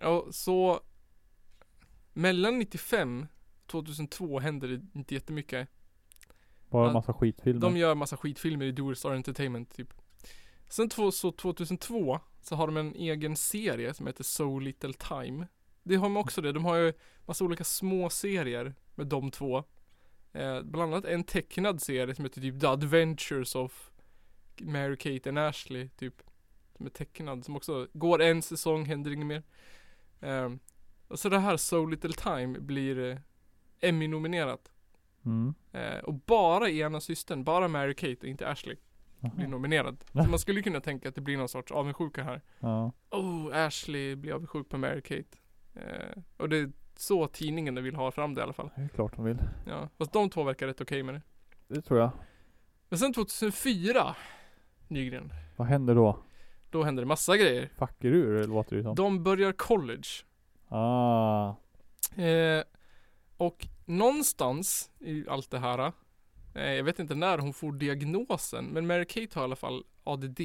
ja, så mellan 95 och 2002 hände det inte jättemycket.
Bara
Ja,
massa skitfilmer.
De gör massa skitfilmer i Dualstar Entertainment typ. Sen två, så 2002 så har de en egen serie som heter So Little Time. Det har de också det. De har ju massa olika små serier med de två. Eh, bland annat en tecknad serie som heter typ The Adventures of Mary Kate and Ashley typ. Som är tecknad som också går en säsong, händer inget mer. Eh, och så det här So Little Time blir eh, Emmy-nominerat.
Mm.
Eh, och bara ena systern, bara Mary Kate och inte Ashley
Jaha.
blir nominerad. Så man skulle kunna tänka att det blir någon sorts avundsjuka här.
Ja.
Oh, Ashley blir avundsjuk på Mary Kate. Eh, och det är så tidningen vill ha fram det i alla fall.
Det är klart de vill.
Ja, fast de två verkar rätt okej med det.
Det tror jag.
Men sen 2004, Nygren,
Vad händer då?
då händer det massa grejer.
Fuckar ur låter det ju som.
De börjar college.
Ah.
Eh, och någonstans i allt det här, eh, jag vet inte när hon får diagnosen, men Mary Kate har i alla fall ADD.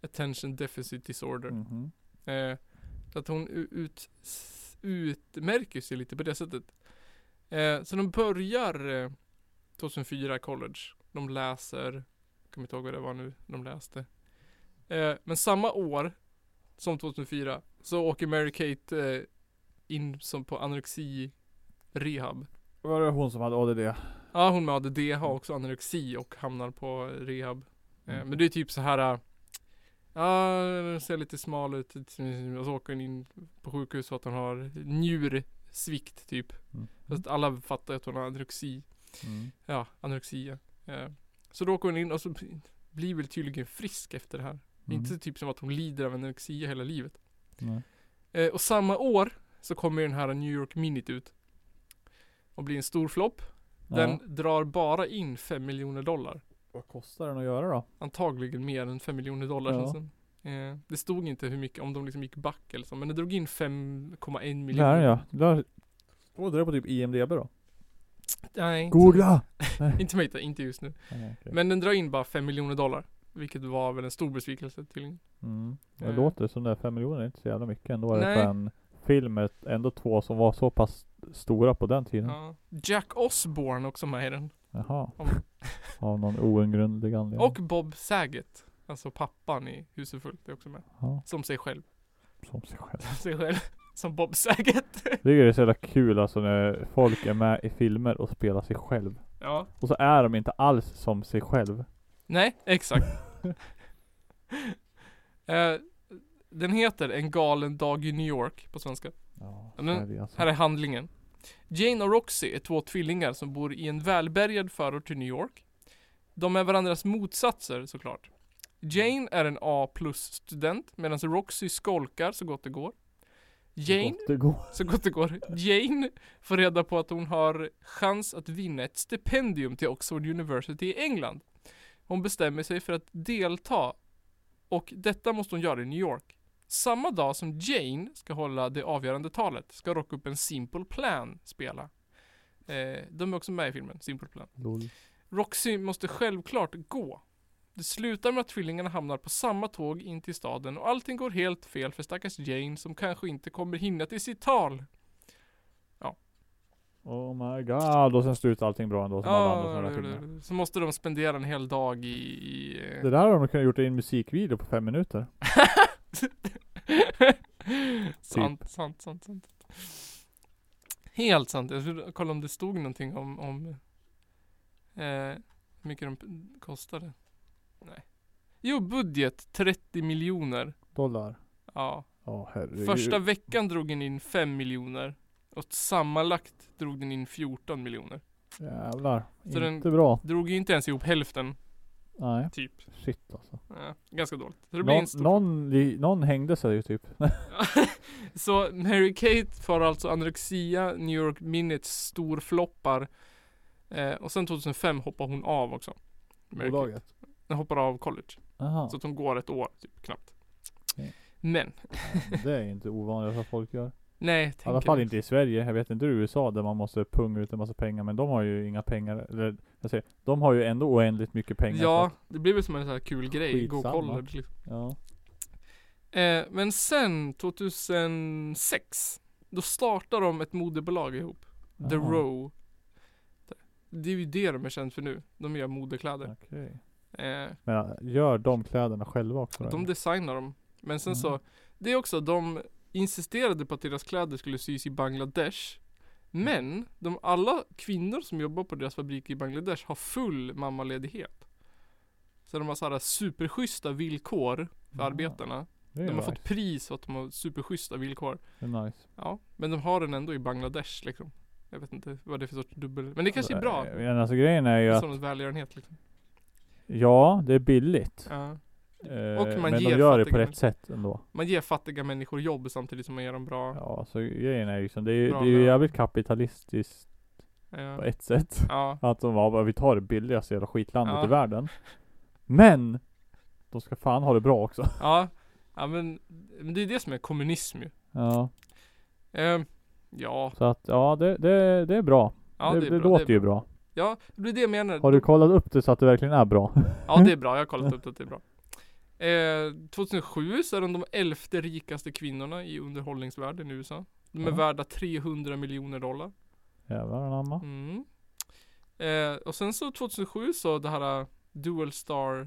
Attention Deficit Disorder.
Mhm.
Eh, så att hon u- ut, s- utmärker sig lite på det sättet. Eh, så de börjar eh, 2004 college. De läser, jag kommer inte ihåg vad det var nu de läste. Eh, men samma år som 2004 så åker Mary Kate eh, in som på anorexi rehab.
Var det hon som hade
Eh,
ADD?
Ja, hon med ADD har också anorexi och hamnar på rehab.
Mm.
Eh, men det är typ så här. eh, Ja, den ser lite smal ut. Och så åker hon in på sjukhus för att hon har njursvikt typ.
Mm.
Fast alla fattar att hon har anorexi.
Mm.
Ja, anorexia. Eh, så då åker hon in och så blir väl tydligen frisk efter det här.
Mm.
Inte typ som att hon lider av anorexia hela livet.
Nej.
Eh, och samma år så kommer den här New York Minute ut. Och blir en stor flopp. Den
Ja.
drar bara in 5 miljoner dollar.
Vad kostar den att göra då?
Antagligen mer än 5 miljoner dollar
Ja.
känns det som. eh, Det stod inte hur mycket, om de liksom gick back eller så, men den drog in 5,1 miljoner.
Där ja. Där. Står det på typ IMDB då?
Nej, inte-
Googla!
inte mig, inte just nu.
Nej, okej.
Men den drar in bara 5 miljoner dollar. Vilket var väl en stor besvikelse tydligen.
Mm. Det
Eh.
låter som det, 5 miljoner är inte så jävla mycket ändå. Nej.
Nej.
För en film med ändå två som var så pass stora på den tiden.
Ja. Jack Osborne också med i den.
Jaha.
Om-
Av någon oundgrundlig anledning.
Och Bob Saget. Alltså pappan i Huset fullt är också med.
Ja,
Som sig själv.
som sig själv.
Som sig själv. Som Bob Saget.
Det är så jävla kul alltså när folk är med i filmer och spelar sig själv.
Ja.
Och så är de inte alls som sig själv.
Nej, exakt. Eh, den heter En galen dag i New York på svenska.
Ja,
Men-
så är det alltså.
Här är handlingen. Jane och Roxy är två tvillingar som bor i en välbärgad förort till New York. De är varandras motsatser såklart. Jane är en A plus student medan Roxy skolkar så gott det går. Jane,
Gott det går.
så gott det går. Jane får reda på att hon har chans att vinna ett stipendium till Oxford University i England. Hon bestämmer sig för att delta och detta måste hon göra i New York. Samma dag som Jane ska hålla det avgörande talet ska rockgruppen Simple Plan spela. Eh, de är också med i filmen, Simple Plan.
Lol.
Roxy måste självklart gå. Det slutar med att tvillingarna hamnar på samma tåg in till staden och allting går helt fel för stackars Jane som kanske inte kommer hinna till sitt tal.
Oh my god. Och sen slutar allting bra ändå som alla andra såna där filmer.
så måste de spendera en hel dag i... i eh,
Det där har de kunnat gjort i en musikvideo på fem minuter. Typ.
sant, sant, sant, sant. Helt sant. Jag skulle kolla om det stod någonting om, om eh, hur mycket de p- kostade. Nej. Jo, budget 30 miljoner.
Dollar.
Ja.
Ja herregud.
Första veckan drog den in 5 miljoner. Och sammanlagt drog den in 14 miljoner.
Jävlar.
Så den-
inte bra.
Drog ju inte ens ihop hälften,
Nej.
typ.
Shit alltså.
Ja, ganska dåligt. Så det blir
Någon,
en stor
någon, li- någon hängde sig ju typ.
Så Mary Kate får alltså anorexia, New York Minutes storfloppar. Eh, och sen 2005 hoppar hon av också. Mary Kate.
Bolaget.
Hon hoppar av college.
Jaha.
Så att hon går ett år, typ knappt.
Okej.
Men,
Det är inte ovanligt att folk gör.
nej,
I
tänker
alla fall
jag.
inte i Sverige. Jag vet inte hur i USA där man måste punga ut en massa pengar. Men de har ju inga pengar. Eller jag säger, de har ju ändå oändligt mycket pengar.
Ja,
så
det blir väl som en sån här kul grej. Gå
Skitsamma.
college liksom.
att- ja.
Eh, men sen 2006 Då startar de ett moderbolag ihop The
Jaha.
Row det är ju det de är kända för nu. De gör modekläder.
Okej.
Eh,
Men ja, gör de kläderna själva också?
de
eller?
designar dem. Men sen så,
Mm.
det är också, de insisterade på att deras kläder skulle sys i Bangladesh. Men, de alla kvinnor som jobbar på deras fabrik i Bangladesh har full mammaledighet. Så de har så här superschyssta villkor för
Ja,
arbetarna.
det är
De har
nice.
fått pris för att de har superschyssta villkor.
Det är nice.
Ja, men de har den ändå i Bangladesh liksom. Jag vet inte vad det är för sorts dubbel... Men det kanske är bra.
Men alltså grejen är ju
Ja.
att,
Som en välgörenhet liksom.
ja det är billigt.
Ja.
Eh,
Och man
men
ger
de gör det på
fattiga
rätt
män-
sätt ändå.
Man ger fattiga människor jobb samtidigt som man ger dem bra.
Ja, så grejen är ju liksom, det är, ju- det
Bra
är ju
lön.
jävligt kapitalistiskt på
Ja.
ett sätt.
ja.
Att de bara, vi tar det billigaste jävla skitlandet
Ja.
i världen. Men! De ska fan ha det bra också.
Ja, ja men, men det är det som är kommunism ju.
Ja,
Eh, ja,
så att ja, det, det, det är bra.
ja
det
det,
det,
är bra,
låter
det är
ju bra.
Ja, det är det jag menar.
Har du Mm. kollat upp det så att det verkligen är bra?
Ja det är bra, jag har kollat upp det, det är bra. Eh, 2007 så är de de elfte rikaste kvinnorna i underhållningsvärlden i USA. De är
Ja.
värda 300 miljoner dollar.
Jävlar anamma.
Mm. Eh, och sen så 2007 så det här eh, Dual Star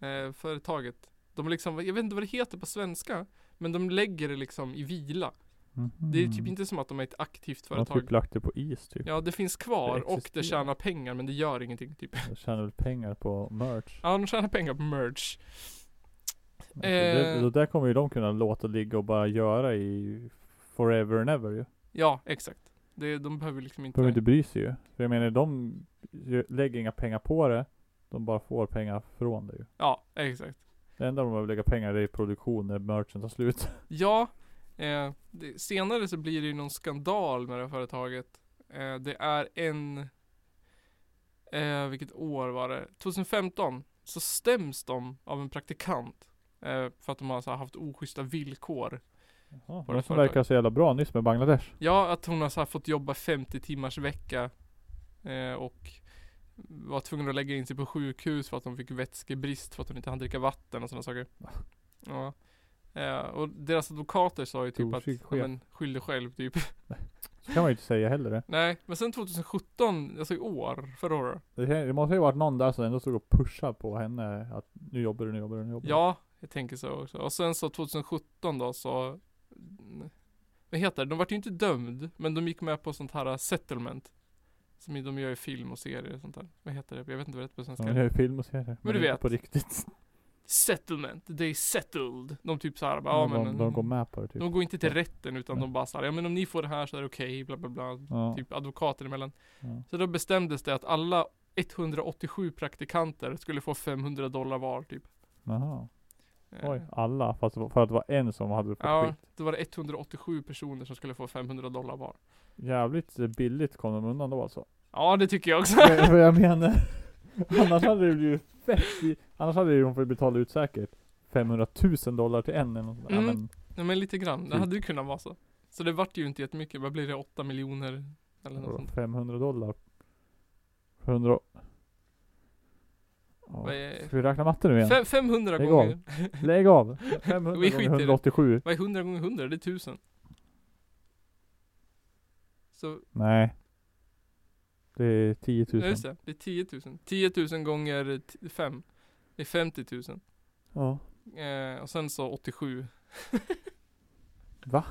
eh, företaget. De liksom, jag vet inte vad det heter på svenska. Men de lägger det liksom i vila.
Mhm.
Det är typ inte som att de är ett aktivt
De har
företag.
typ lagt det på is typ.
Ja det finns kvar
Det
och det
existerar.
tjänar pengar men det gör ingenting typ.
De tjänar väl pengar på merch.
Ja de tjänar pengar på merch.
Alltså, det,
Eh.
det där kommer ju de kunna låta ligga och bara göra i forever and ever ju.
Ja exakt. Det, de behöver liksom inte...
De behöver inte bry sig ju. För jag menar de ju- lägger inga pengar på det. De bara får pengar från det ju.
Ja exakt.
Det enda de behöver lägga pengar i är produktion när merchen tar slut.
Ja. Eh, det, senare så blir det ju någon skandal med det här företaget. Eh, det är en... Eh, vilket år var det? 2015. Så stäms de av en praktikant. Eh, för att de har så här, haft oschyssta villkor.
Jaha,
det
de som
företag?
verkar så jävla bra nyss med Bangladesh.
Ja, att hon har så här fått jobba 50 timmars vecka eh, och var tvungen att lägga in sig på sjukhus för att hon fick vätskebrist för att hon inte hann dricka vatten och sådana saker. Ja. Eh, och deras advokater sa ju typ att,
Trosig
ja,
chef.
men skyll dig själv typ.
Så kan man ju inte säga heller det.
Nej, men sen 2017, alltså i år, förra året.
Det, kan- det måste ju varit någon där som ändå stod och pushade på henne att nu jobbar du, nu jobbar du, nu jobbar du.
Ja, jag tänker så också. Och sen så 2017 då så Vad heter det? De vart ju inte dömd, men de gick med på sånt här settlement. Som de gör i film och serier och sånt där. Vad heter det? Jag vet inte vad det heter på svenska.
Ja, det är ju film och serier. Men,
du
det är
vet.
inte På riktigt.
settlement, they settled. De typ såhär bara, ja
Ja, de,
men
de går med på det typ.
de går inte till rätten utan
Nej.
de bara såhär, ja men om ni får det här så är det okej, bla bla bla.
ja,
Typ advokater emellan.
ja.
Så då bestämdes det att alla 187 praktikanter skulle få 500 dollar var typ.
Jaha.
Eh,
Oj, alla. Fast det var- för att det var en som hade fått
Ja,
skit.
då var det 187 personer som skulle få 500 dollar var.
Jävligt eh, billigt kom de undan då alltså.
Ja det tycker jag också.
Vad vad jag menar. Annars hade det blivit fett i, Annars hade ju de fått betala ut säkert 500 000 dollar till en eller något sånt där.
Mm.
ja, men,
Nej men lite grann, det
Typ.
hade ju kunnat vara så. Så det vart ju inte jättemycket, vad blir det? 8 miljoner? Eller något sånt.
500 dollar. 100... Ja.
Vad är-
Ska vi räkna matte nu igen?
Fem- 500
Lägg
gånger.
Lägg av! 500
Vi
gånger
skiter i det.
187.
Vad är 100 gånger 100? Det är 1000. Så,
Nej. Det är 10
ja
000.
just det. Det är 10 000. 10 000 gånger 5. Det är 50
Ja.
000. Eh, och sen så 87.
Hur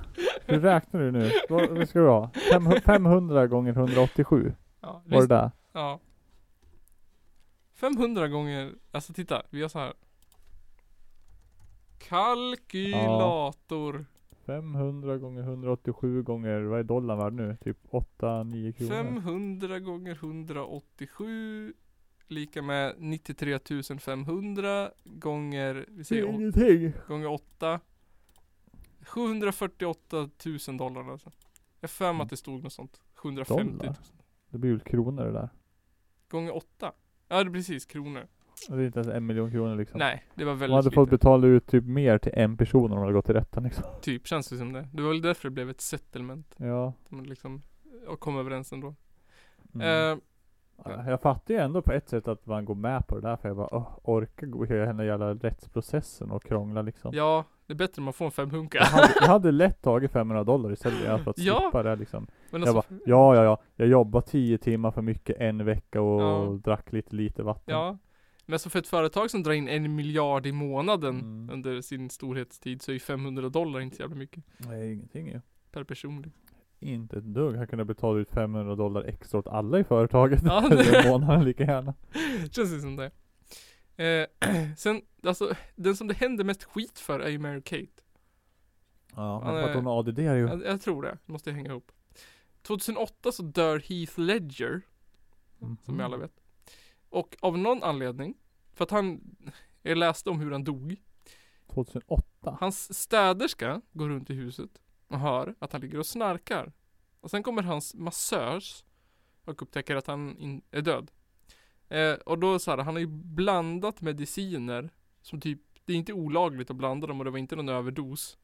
räknar du nu? Vad vad ska du ha? Fem- 500 gånger 187?
Ja,
Var det
lys-
där?
ja. 500 gånger, alltså titta, vi gör så här. Kalkylator.
500 gånger 187 gånger, vad är dollarn värd nu? Typ 8-9 kronor?
500 gånger 187 lika med 93 500 gånger, vi
Det
säger
är
åt-
ingenting!
gånger 8 748 000 dollar alltså. Jag har för mig att det stod något sånt. 750 000.
Dollar? Det blir väl kronor det där?
Gånger 8. Ja det är precis, kronor.
Det är inte ens en miljon kronor liksom.
Nej, det var
De
väldigt
hade
lite.
fått betala ut typ mer till en person om de hade gått till rätten liksom.
typ, känns det som det. Det var väl därför det blev ett settlement.
Ja.
eh, Man liksom, och kom överens ändå.
Mm.
Eh,
Ja, Jag fattar ju ändå på ett sätt att man går med på det där för jag bara "Åh, orkar gå hela den där jävla rättsprocessen och krångla liksom.
Ja, det är bättre om man får en femhunka.
Jag hade, jag hade lätt tagit 500 dollar istället ja, för att
Ja.
slippa det liksom.
Men
Jag
alltså,
bara, ja ja ja, jag jobbade 10 timmar för mycket en vecka och
Ja.
drack lite lite vatten.
ja. Men alltså för ett företag som drar in en miljard i månaden
Mm.
under sin storhetstid så är ju 500 dollar inte så jävla mycket
Nej ingenting ju.
per person. liksom.
Inte ett dugg. Han kunde betala ut 500 dollar extra åt alla i företaget
Ja.
den månaden lika gärna.
Känns det som det. Eh, sen, alltså den som det händer mest skit för är ju Mary Kate.
Ja,
Han
men för att
är-
hon har ADD är ju.
Jag, jag tror det, måste hänga ihop. 2008 så dör Heath Ledger,
Mm.
som vi alla vet. Och av någon anledning, för att han, jag läste om hur han dog.
2008?
Hans städerska går runt i huset och hör att han ligger och snarkar. Och sen kommer hans massörs och upptäcker att han in, är död. Eh, och då så här, han har ju blandat mediciner som typ, det är inte olagligt att blanda dem och det var inte någon överdos.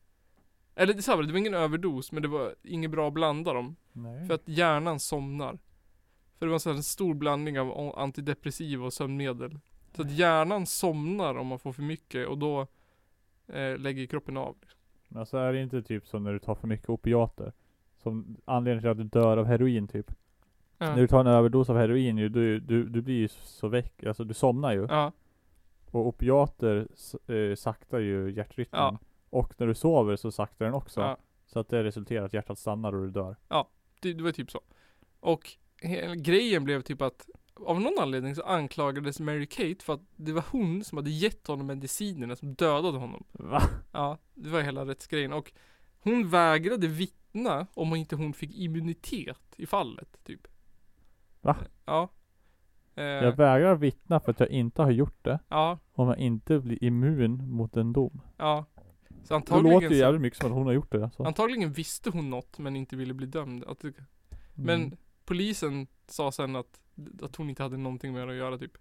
Eller det, är så här, det var ingen överdos men det var inget bra att blanda dem.
Nej.
För att hjärnan somnar. För det var så här en stor blandning av o- antidepressiva och sömnmedel. Så att hjärnan somnar om man får för mycket och då eh, lägger kroppen av.
Men alltså är det inte typ som när du tar för mycket opiater? Som anledningen till att du dör av heroin typ.
Ja.
När du tar en överdos av heroin ju, du, du, du blir ju så väck, alltså du somnar ju.
Ja,
Och opiater s- eh, saktar ju hjärtrytmen.
Ja.
Och när du sover så saktar den också.
ja.
Så att det resulterar i att hjärtat stannar och du dör.
Det, det var typ så. Och he- grejen blev typ att av någon anledning så anklagades Mary Kate för att det var hon som hade gett honom medicinerna som dödade honom.
Va?
Ja, det var hela rättsgrejen. Och hon vägrade vittna om inte hon fick immunitet i fallet, typ.
Va?
Ja. Eh,
Jag vägrar vittna för att jag inte har gjort det.
ja,
Om jag inte blir immun mot en dom.
ja. Så
Det låter
antagligen,
ju
så,
jävligt mycket som att hon har gjort det alltså.
antagligen visste hon något men inte ville bli dömd. Att, det- men
Mm.
polisen sa sen att, att hon inte hade någonting med det att göra typ.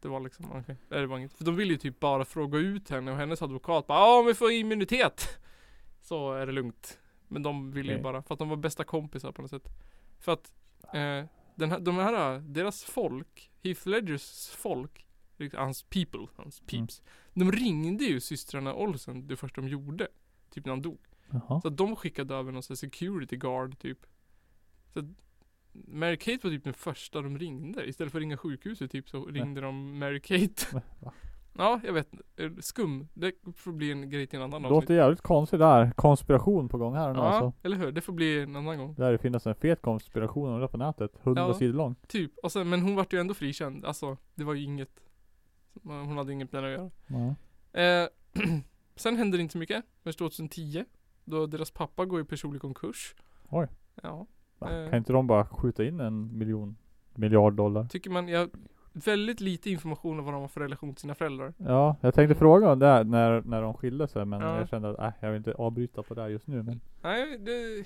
Det var liksom, okej. Nej, Det var inget. För de ville ju typ bara fråga ut henne och hennes advokat bara ja om vi får immunitet. Så är det lugnt. Men de ville ju
Okej.
bara, för att de var bästa kompisar på något sätt. För att eh, den här, de här, deras folk, Heath Ledgers folk, liksom, hans people, hans peeps.
Mm.
De ringde ju systrarna Olsen det första de gjorde. Typ när han dog.
Mm. Jaha.
Så att de skickade över någon sån här security guard typ. Så att Mary Kate var typ den första de ringde. Istället för att ringa sjukhuset typ så ringde de Mary Kate.
Va?
Ja, jag vet inte. Eh, Skum. Det får bli en grej till en annan
Låter jävligt konstigt det här. Konspiration på gång här nu
Ja,
alltså.
eller hur? Det får bli en annan gång.
Där det finns en fet konspiration om det på nätet. 100
Ja.
sidor lång.
Typ. Och sen, men hon vart ju ändå frikänd. Alltså, det var ju inget. Hon hade inget med det att göra.
Ja.
Eh, sen händer det inte så mycket. Först 2010. Då deras pappa går i personlig konkurs.
Oj.
Ja.
Va?
Eh.
Kan inte de bara skjuta in en miljon miljard dollar?
Tycker man, jag väldigt lite information om vad de har för relation till sina föräldrar.
Ja, jag tänkte fråga om det här när, när de skilde sig men
Mm. Ja.
jag kände att äh, jag vill inte avbryta på det här just nu. Men
Nej, det...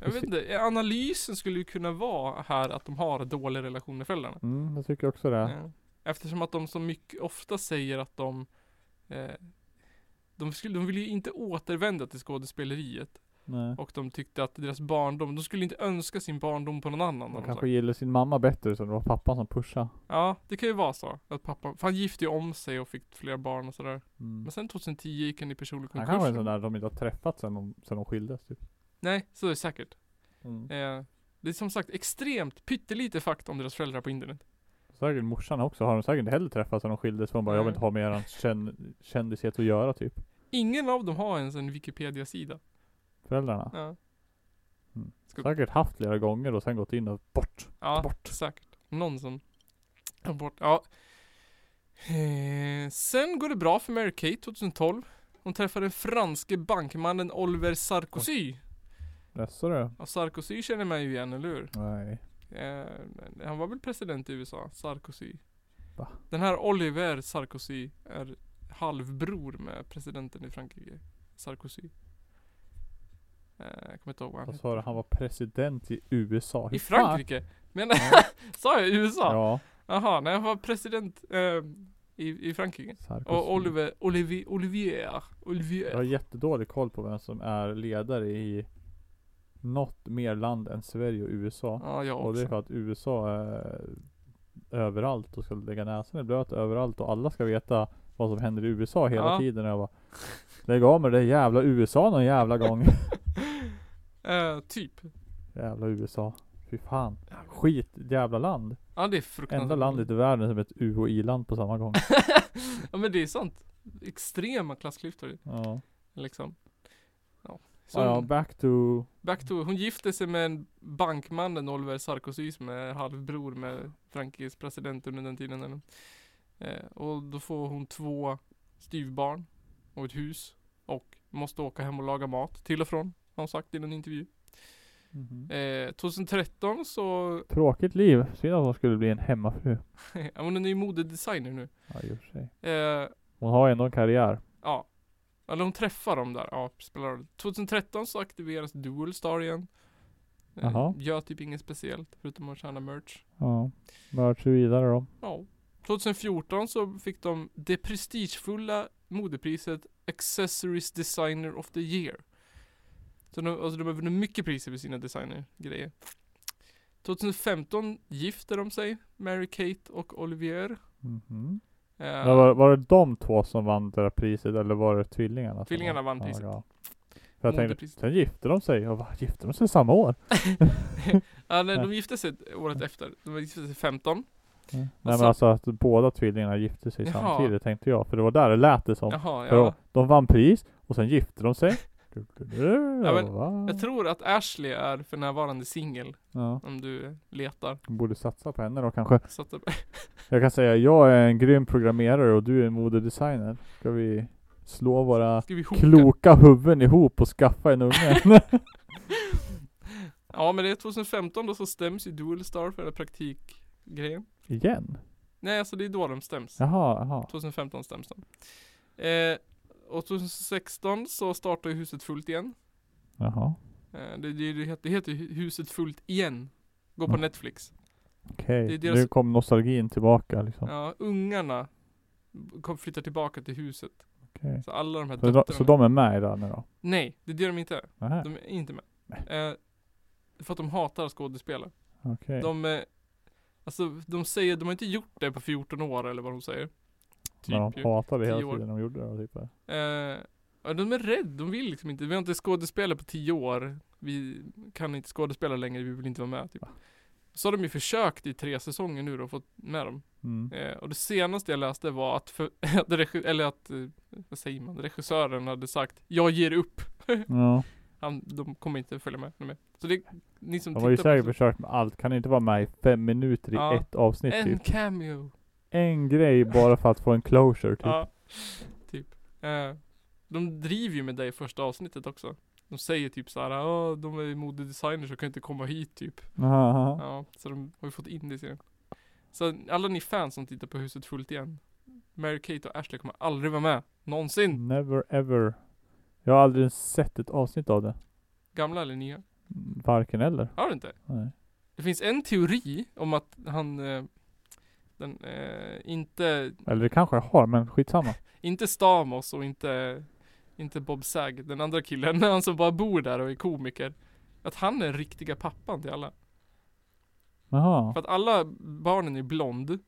Jag vet inte. Analysen skulle ju kunna vara här att de har en dålig relation med föräldrarna.
mm, jag tycker också det.
Eh, Eftersom att de så mycket ofta säger att de eh, de, skulle, de ville ju inte återvända till skådespeleriet
Nej.
och de tyckte att deras barndom, de skulle inte önska sin barndom på någon annan. har
De
de
kanske
sagt.
gillar sin mamma bättre så det var pappan som pushade.
Ja, det kan ju vara så. Att pappa, för han gifte ju om sig och fick flera barn och sådär.
Mm.
Men sen 2010 gick han i personlig
Han kanske är en
konkurs.
sån där de inte har träffats sen de, sen de skildes typ.
Nej, så är det säkert.
Mm.
Eh, det är som sagt extremt pyttelite fakta om deras föräldrar på internet.
Säkert morsan också, har de säkert inte heller träffats sen de skildes för hon bara jag vill inte ha med er känn, kändishet att göra typ.
Ingen av dem har ens en Wikipedia-sida.
Föräldrarna.
Ja,
Säkert haft flera gånger och sen gått in och bort.
ja
Bort.
säkert. Någon som tar bort. Ja. Eh, sen går det bra för Mary Kate 2012. Hon träffar den franske bankmannen Oliver Sarkozy.
Jaså du?
Och Sarkozy känner man ju igen, eller hur?
Nej.
Eh, men han var väl president i USA, Sarkozy.
Va?
Den här Oliver Sarkozy är halvbror med presidenten i Frankrike, Sarkozy. Eh, jag kommer inte ihåg vad han
Vad
heter.
sa du? Han var president i USA. Hur
I
fan-
Frankrike? Men sa jag USA?
Ja.
Jaha, nej han var president eh, i, i Frankrike.
Sarkozy.
Och Oliver, Olivier, Olivier, Olivier.
Jag har jättedålig koll på vem som är ledare i något mer land än Sverige och USA.
Ja, jag
och det är
också.
för att USA är överallt och ska lägga näsan i blöt överallt och alla ska veta vad som händer i USA hela
Ja.
tiden. Och jag bara, Lägg av med det där jävla USA någon jävla gång.
Eh, typ.
jävla USA. Fy fan. Skit jävla land.
Ja det är fruktansvärt.
Enda landet i världen som är ett UHI-land på samma gång.
ja men det är sant. Extrema klassklyftor
Ja.
liksom. Ja. Så
Ja, ja, back to...
back to, hon gifte sig med en bankmannen Oliver Sarkozy som är halvbror med Frankrikes president under den tiden. eller? Eh, och då får hon två styvbarn och ett hus och måste åka hem och laga mat till och från har hon sagt i en intervju. Eh, 2013 så,
Mhm. Tråkigt liv. Synd att hon skulle bli en hemmafru.
ja, men hon är ju modedesigner nu.
Ja, i och för sig.
Eh,
Hon har ändå en karriär.
Ja. Eller hon träffar dem där. Ja, spelar roll. 2013 så aktiveras Dual Star igen. Eh,
Jaha.
Gör typ inget speciellt förutom att tjäna merch.
Ja. Mörts vidare då.
Ja. 2014 så fick de det prestigefulla modepriset Accessories Designer of the Year. Så de, alltså de har vunnit mycket priser för sina designergrejer. 2015 gifter de sig, Mary-Kate och Olivier.
Mhm.
Eh,
Men var, var det de två som vann det där priset eller var det tvillingarna? som
Tvillingarna vann
Ja,
priset.
Ja. För jag tänkte,
Modepriset.
sen gifte de sig. Och bara, gifte de sig samma år?
ja, nej,
Nej.
de gifte sig året efter. De gifte sig 15.
Nej
Och
men
så-
alltså att båda tvillingarna gifte sig
Jaha.
samtidigt tänkte jag. För det var där det lät det som.
Jaha,
För
ja.
de, de vann pris och sen gifte de sig. Du, du, du,
Ja, men
va?
Jag tror att Ashley är för närvarande singel
ja.
om du letar.
Borde satsa på henne då kanske.
Så att,
Jag kan säga jag är en grym programmerare och du är en modedesigner. Ska vi slå våra
ska vi hoka?
kloka huvuden ihop och skaffa en unge?
Ja men det är 2015 då så stäms ju Dual Star för den här praktikgrejen.
Igen?
Nej alltså det är då de stäms.
Jaha, jaha.
2015 stäms de. Eh, och 2016 så startar ju huset fullt igen.
Jaha.
Eh, det, det, det, heter, det heter ju huset fullt igen. Går på
Mm.
Netflix.
Okej,
Det är deras-
nu kom nostalgin tillbaka liksom.
Ja, ungarna kom, flyttar tillbaka till huset.
Okej.
Så alla de här
Så, de,
döttrarna.
så de är med i det här nu då?
Nej, det är det de inte är.
Nähä,
De är inte med. Eh, för att de hatar skådespelare.
okej.
De, eh, alltså de säger, de har inte gjort det på 14 år eller vad de säger. Typ
Men de
ju.
hatade hela
tio år.
tiden de gjorde det typ.
Eh, ja, de är rädda, de vill liksom inte. Vi har inte skådespelare på 10 år. Vi kan inte skådespela längre, vi vill inte vara med typ. Så har de ju försökt i tre säsonger nu då, fått med dem.
Mm.
Eh, och det senaste jag läste var att, för, att regi- eller att, eh, vad säger man, regissören hade sagt Jag ger upp.
Ja.
Han, de kommer inte följa med, med. Så det, ni som
De har ju
tittar
säkert
på
försökt med allt. Kan inte vara med i fem minuter i
Ja.
ett avsnitt
En
typ.
cameo.
En grej bara för att få en closure typ.
Ja, typ. Eh, de driver ju med dig i första avsnittet också. De säger typ så här, "Ja, de är modedesigners och kan inte komma hit typ.
Jaha.
Ja, så de har ju fått in det i serien. Så alla ni fans som tittar på Huset Fullt igen. Mary-Kate och Ashley kommer aldrig vara med. Någonsin.
Never ever. Jag har aldrig sett ett avsnitt av det.
Gamla eller nya.
Varken eller.
Har du inte?
Nej.
Det finns en teori om att han eh, den, eh, inte,
Eller det kanske jag har, men skitsamma.
inte Stamos och inte, inte Bob Sag, den andra killen, han som bara bor där och är komiker. Att han är riktiga pappan till alla.
Jaha.
För att alla barnen är blond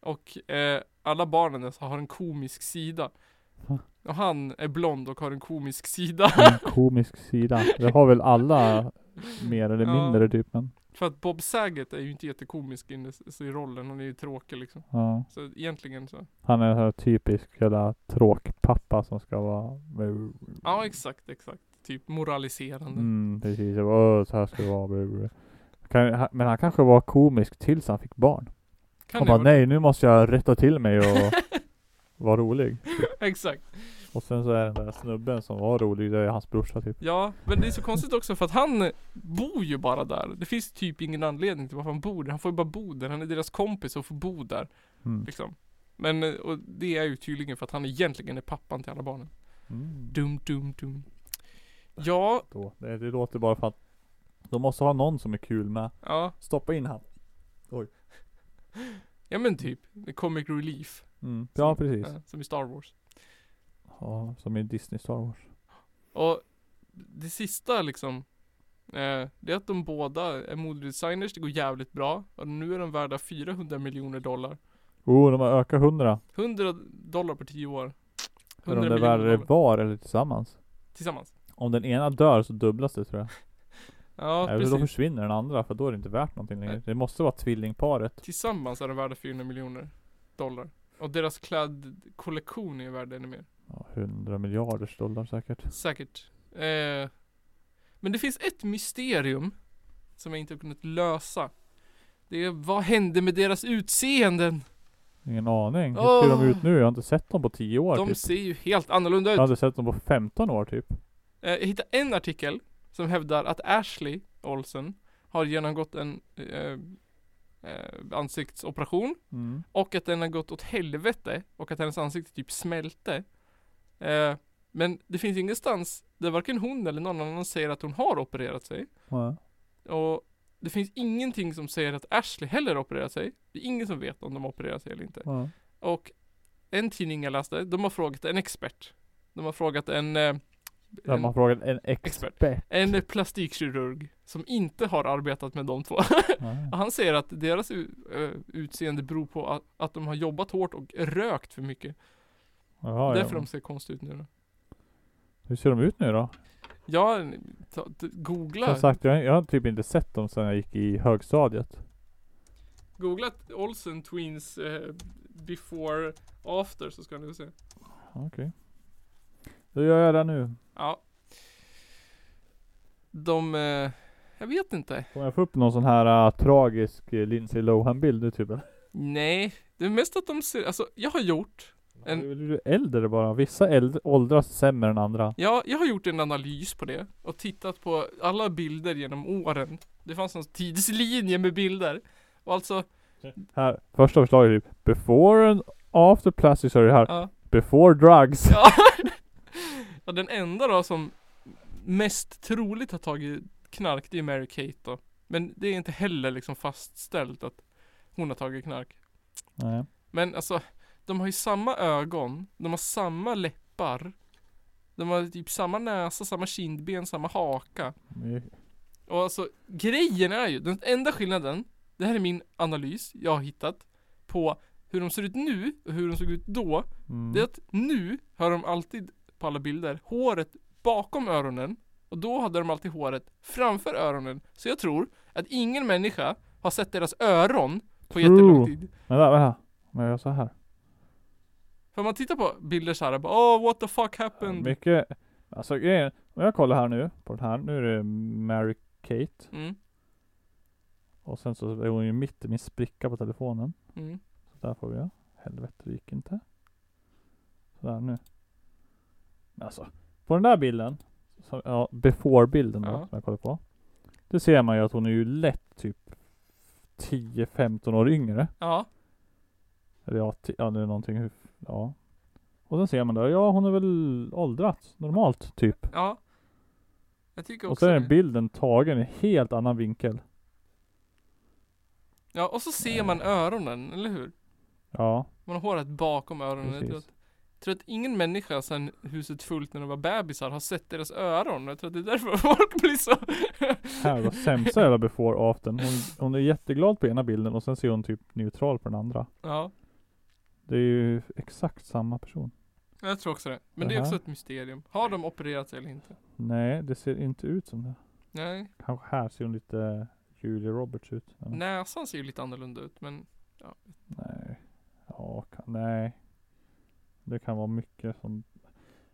och eh, alla barnen har en komisk sida.
Va?
Och han är blond och har en komisk sida.
En komisk sida. Det har väl alla mer eller
Ja.
mindre typ. Men,
För att Bob Saget är ju inte jättekomisk in i, i rollen, han är ju tråkig liksom.
ja.
Så egentligen så.
Han är en sån här typisk jävla tråkpappa som ska vara med,
Ja exakt, exakt. Typ moraliserande.
mm, precis. Jag bara, "Åh, så här ska det vara. bla, bla, bla." Kan, ha- men han kanske var komisk tills han fick barn.
Kan
han
det
bara,
vara?
nej nu måste jag rätta till mig och vara rolig.
Exakt.
Och sen så är den där snubben som var rolig, det är hans brorsa typ.
Ja, men det är så konstigt också för att han eh, bor ju bara där. Det finns typ ingen anledning till varför han bor där. Han får ju bara bo där. Han är deras kompis och får bo där.
Mm.
Liksom. Men eh, och det är ju tydligen för att han egentligen är pappan till alla barnen.
Mm.
Dum, dum, dum. Ja,
Då. Det, det låter bara för att de måste ha någon som är kul med.
ja,
Stoppa in han.
ja men typ. Comic relief.
Mm. Ja precis.
eh, som i Star Wars.
Ja, som i Disney Star Wars.
Och det sista liksom Eh, det är att de båda är modedesigners, det går jävligt bra. Och nu är de värda 400 miljoner dollar.
Oh, de har ökat 100.
100 dollar på 10
Är
år. 100
de där
miljoner
värre
dollar.
var eller tillsammans?
Tillsammans.
Om den ena dör så dubblas det tror jag.
Ja,
Eller då
precis.
försvinner den andra för då är det inte värt någonting längre.
Nej.
Det måste vara tvillingparet.
Tillsammans är de värda 400 miljoner dollar. Och deras klädkollektion är värd ännu mer.
Ja, 100 miljarders dollar säkert.
Säkert. Eh, men det finns ett mysterium som jag inte har kunnat lösa. Det är vad hände med deras utseenden?
Ingen aning. Hur ser
Åh!
de ut nu? Jag har inte sett dem på 10 år
De
typ.
ser ju helt annorlunda
Jag
ut.
har inte sett dem på 15 år typ.
Eh, jag hittade en artikel som hävdar att Ashley Olsen har genomgått en eh, eh, ansiktsoperation
Mm.
och att den har gått åt helvete och att hennes ansikte typ smälte. Eh, men det finns ingenstans där varken hon eller någon annan säger att hon har opererat sig.
Ja.
Och det finns ingenting som säger att Ashley heller har opererat sig. Det är ingen som vet om de har opererat sig eller inte.
Ja.
Och en tidning jag läste, de har frågat en expert. De har frågat en, eh,
Där
en
man frågat en
eh, Expert.
expert.
en plastikkirurg som inte har arbetat med de två.
Ja.
Han säger att deras u- eh, utseende beror på att, att de har jobbat hårt och rökt för mycket.
Jaha,
Därför
ja.
de ser konstiga ut nu då.
Hur ser de ut nu då?
Ja, ta, ta, googla,
Som sagt, jag, jag har typ inte sett dem sedan jag gick i högstadiet.
googla Olsen Twins eh, before after så ska ni få se.
Då gör jag det nu.
Ja. De, eh, jag vet inte.
Kommer jag få upp någon sån här äh, tragisk äh, Lindsay Lohan-bild nu typ eller?
Nej, det är mest att de ser, alltså jag har gjort, En-
Du du är äldre bara. Vissa äldre, åldras sämre än andra.
ja, jag har gjort en analys på det och tittat på alla bilder genom åren. Det fanns en tidslinje med bilder. Och alltså,
Här, första förslaget är typ Before and after plastic surgery här.
ja.
Before drugs.
ja. ja den enda då som mest troligt har tagit knark, det är Mary Kate då. Men det är inte heller liksom fastställt att hon har tagit knark.
Nej.
Men alltså, de har ju samma ögon, de har samma läppar. De har typ samma näsa, samma kindben, samma haka.
Mm.
Och alltså, grejen är ju, den enda skillnaden, det här är min analys jag har hittat på hur de ser ut nu och hur de såg ut då.
mm.
Det är att nu har de alltid på alla bilder håret bakom öronen och då hade de alltid håret framför öronen. Så jag tror att ingen människa har sett deras öron på
True.
jättelång tid.
Vänta, vänta. Men jag gör så här.
För om man tittar på bilder såhär, bara oh what the fuck happened?
Mycket. Alltså grejen. Om jag kollar här nu. På den här. Nu är det Mary Kate.
Mm,
Och sen så är hon ju mitt i min spricka på telefonen.
mm.
Så där får vi ja. Helvete, det gick inte. Sådär nu. Men alltså, på den där bilden. Så, ja, before-bilden då,
Ja.
som jag kollade på. Det ser man ju att hon är ju lätt typ 10-15 år yngre.
Ja,
Eller ja, ti- ja, det är någonting. hur- Ja. Och sen ser man där, ja hon är väl åldrats normalt typ.
ja. Jag tycker
Och
också
sen är
det.
bilden tagen i en helt annan vinkel.
Ja, och så ser man öronen, eller hur?
Ja,
Man har håret bakom öronen. Mm, Jag tror, att,
precis.
jag tror att ingen människa sen huset fullt när de var bebisar har sett deras öron. Jag tror att det är därför folk blir så...
Här var sämsta jävla before och after. Hon, hon är jätteglad på ena bilden och sen ser hon typ neutral på den andra.
ja,
Det är ju exakt samma person.
jag tror också det. Men det är
Det här?
också ett mysterium. Har de opererat sig eller inte?
Nej, det ser inte ut som det.
Nej.
Kanske här ser hon lite Julia Roberts ut. Ja,
Näsan ser ju lite annorlunda ut, men
Nej. Ja, kan, nej. Det kan vara mycket som...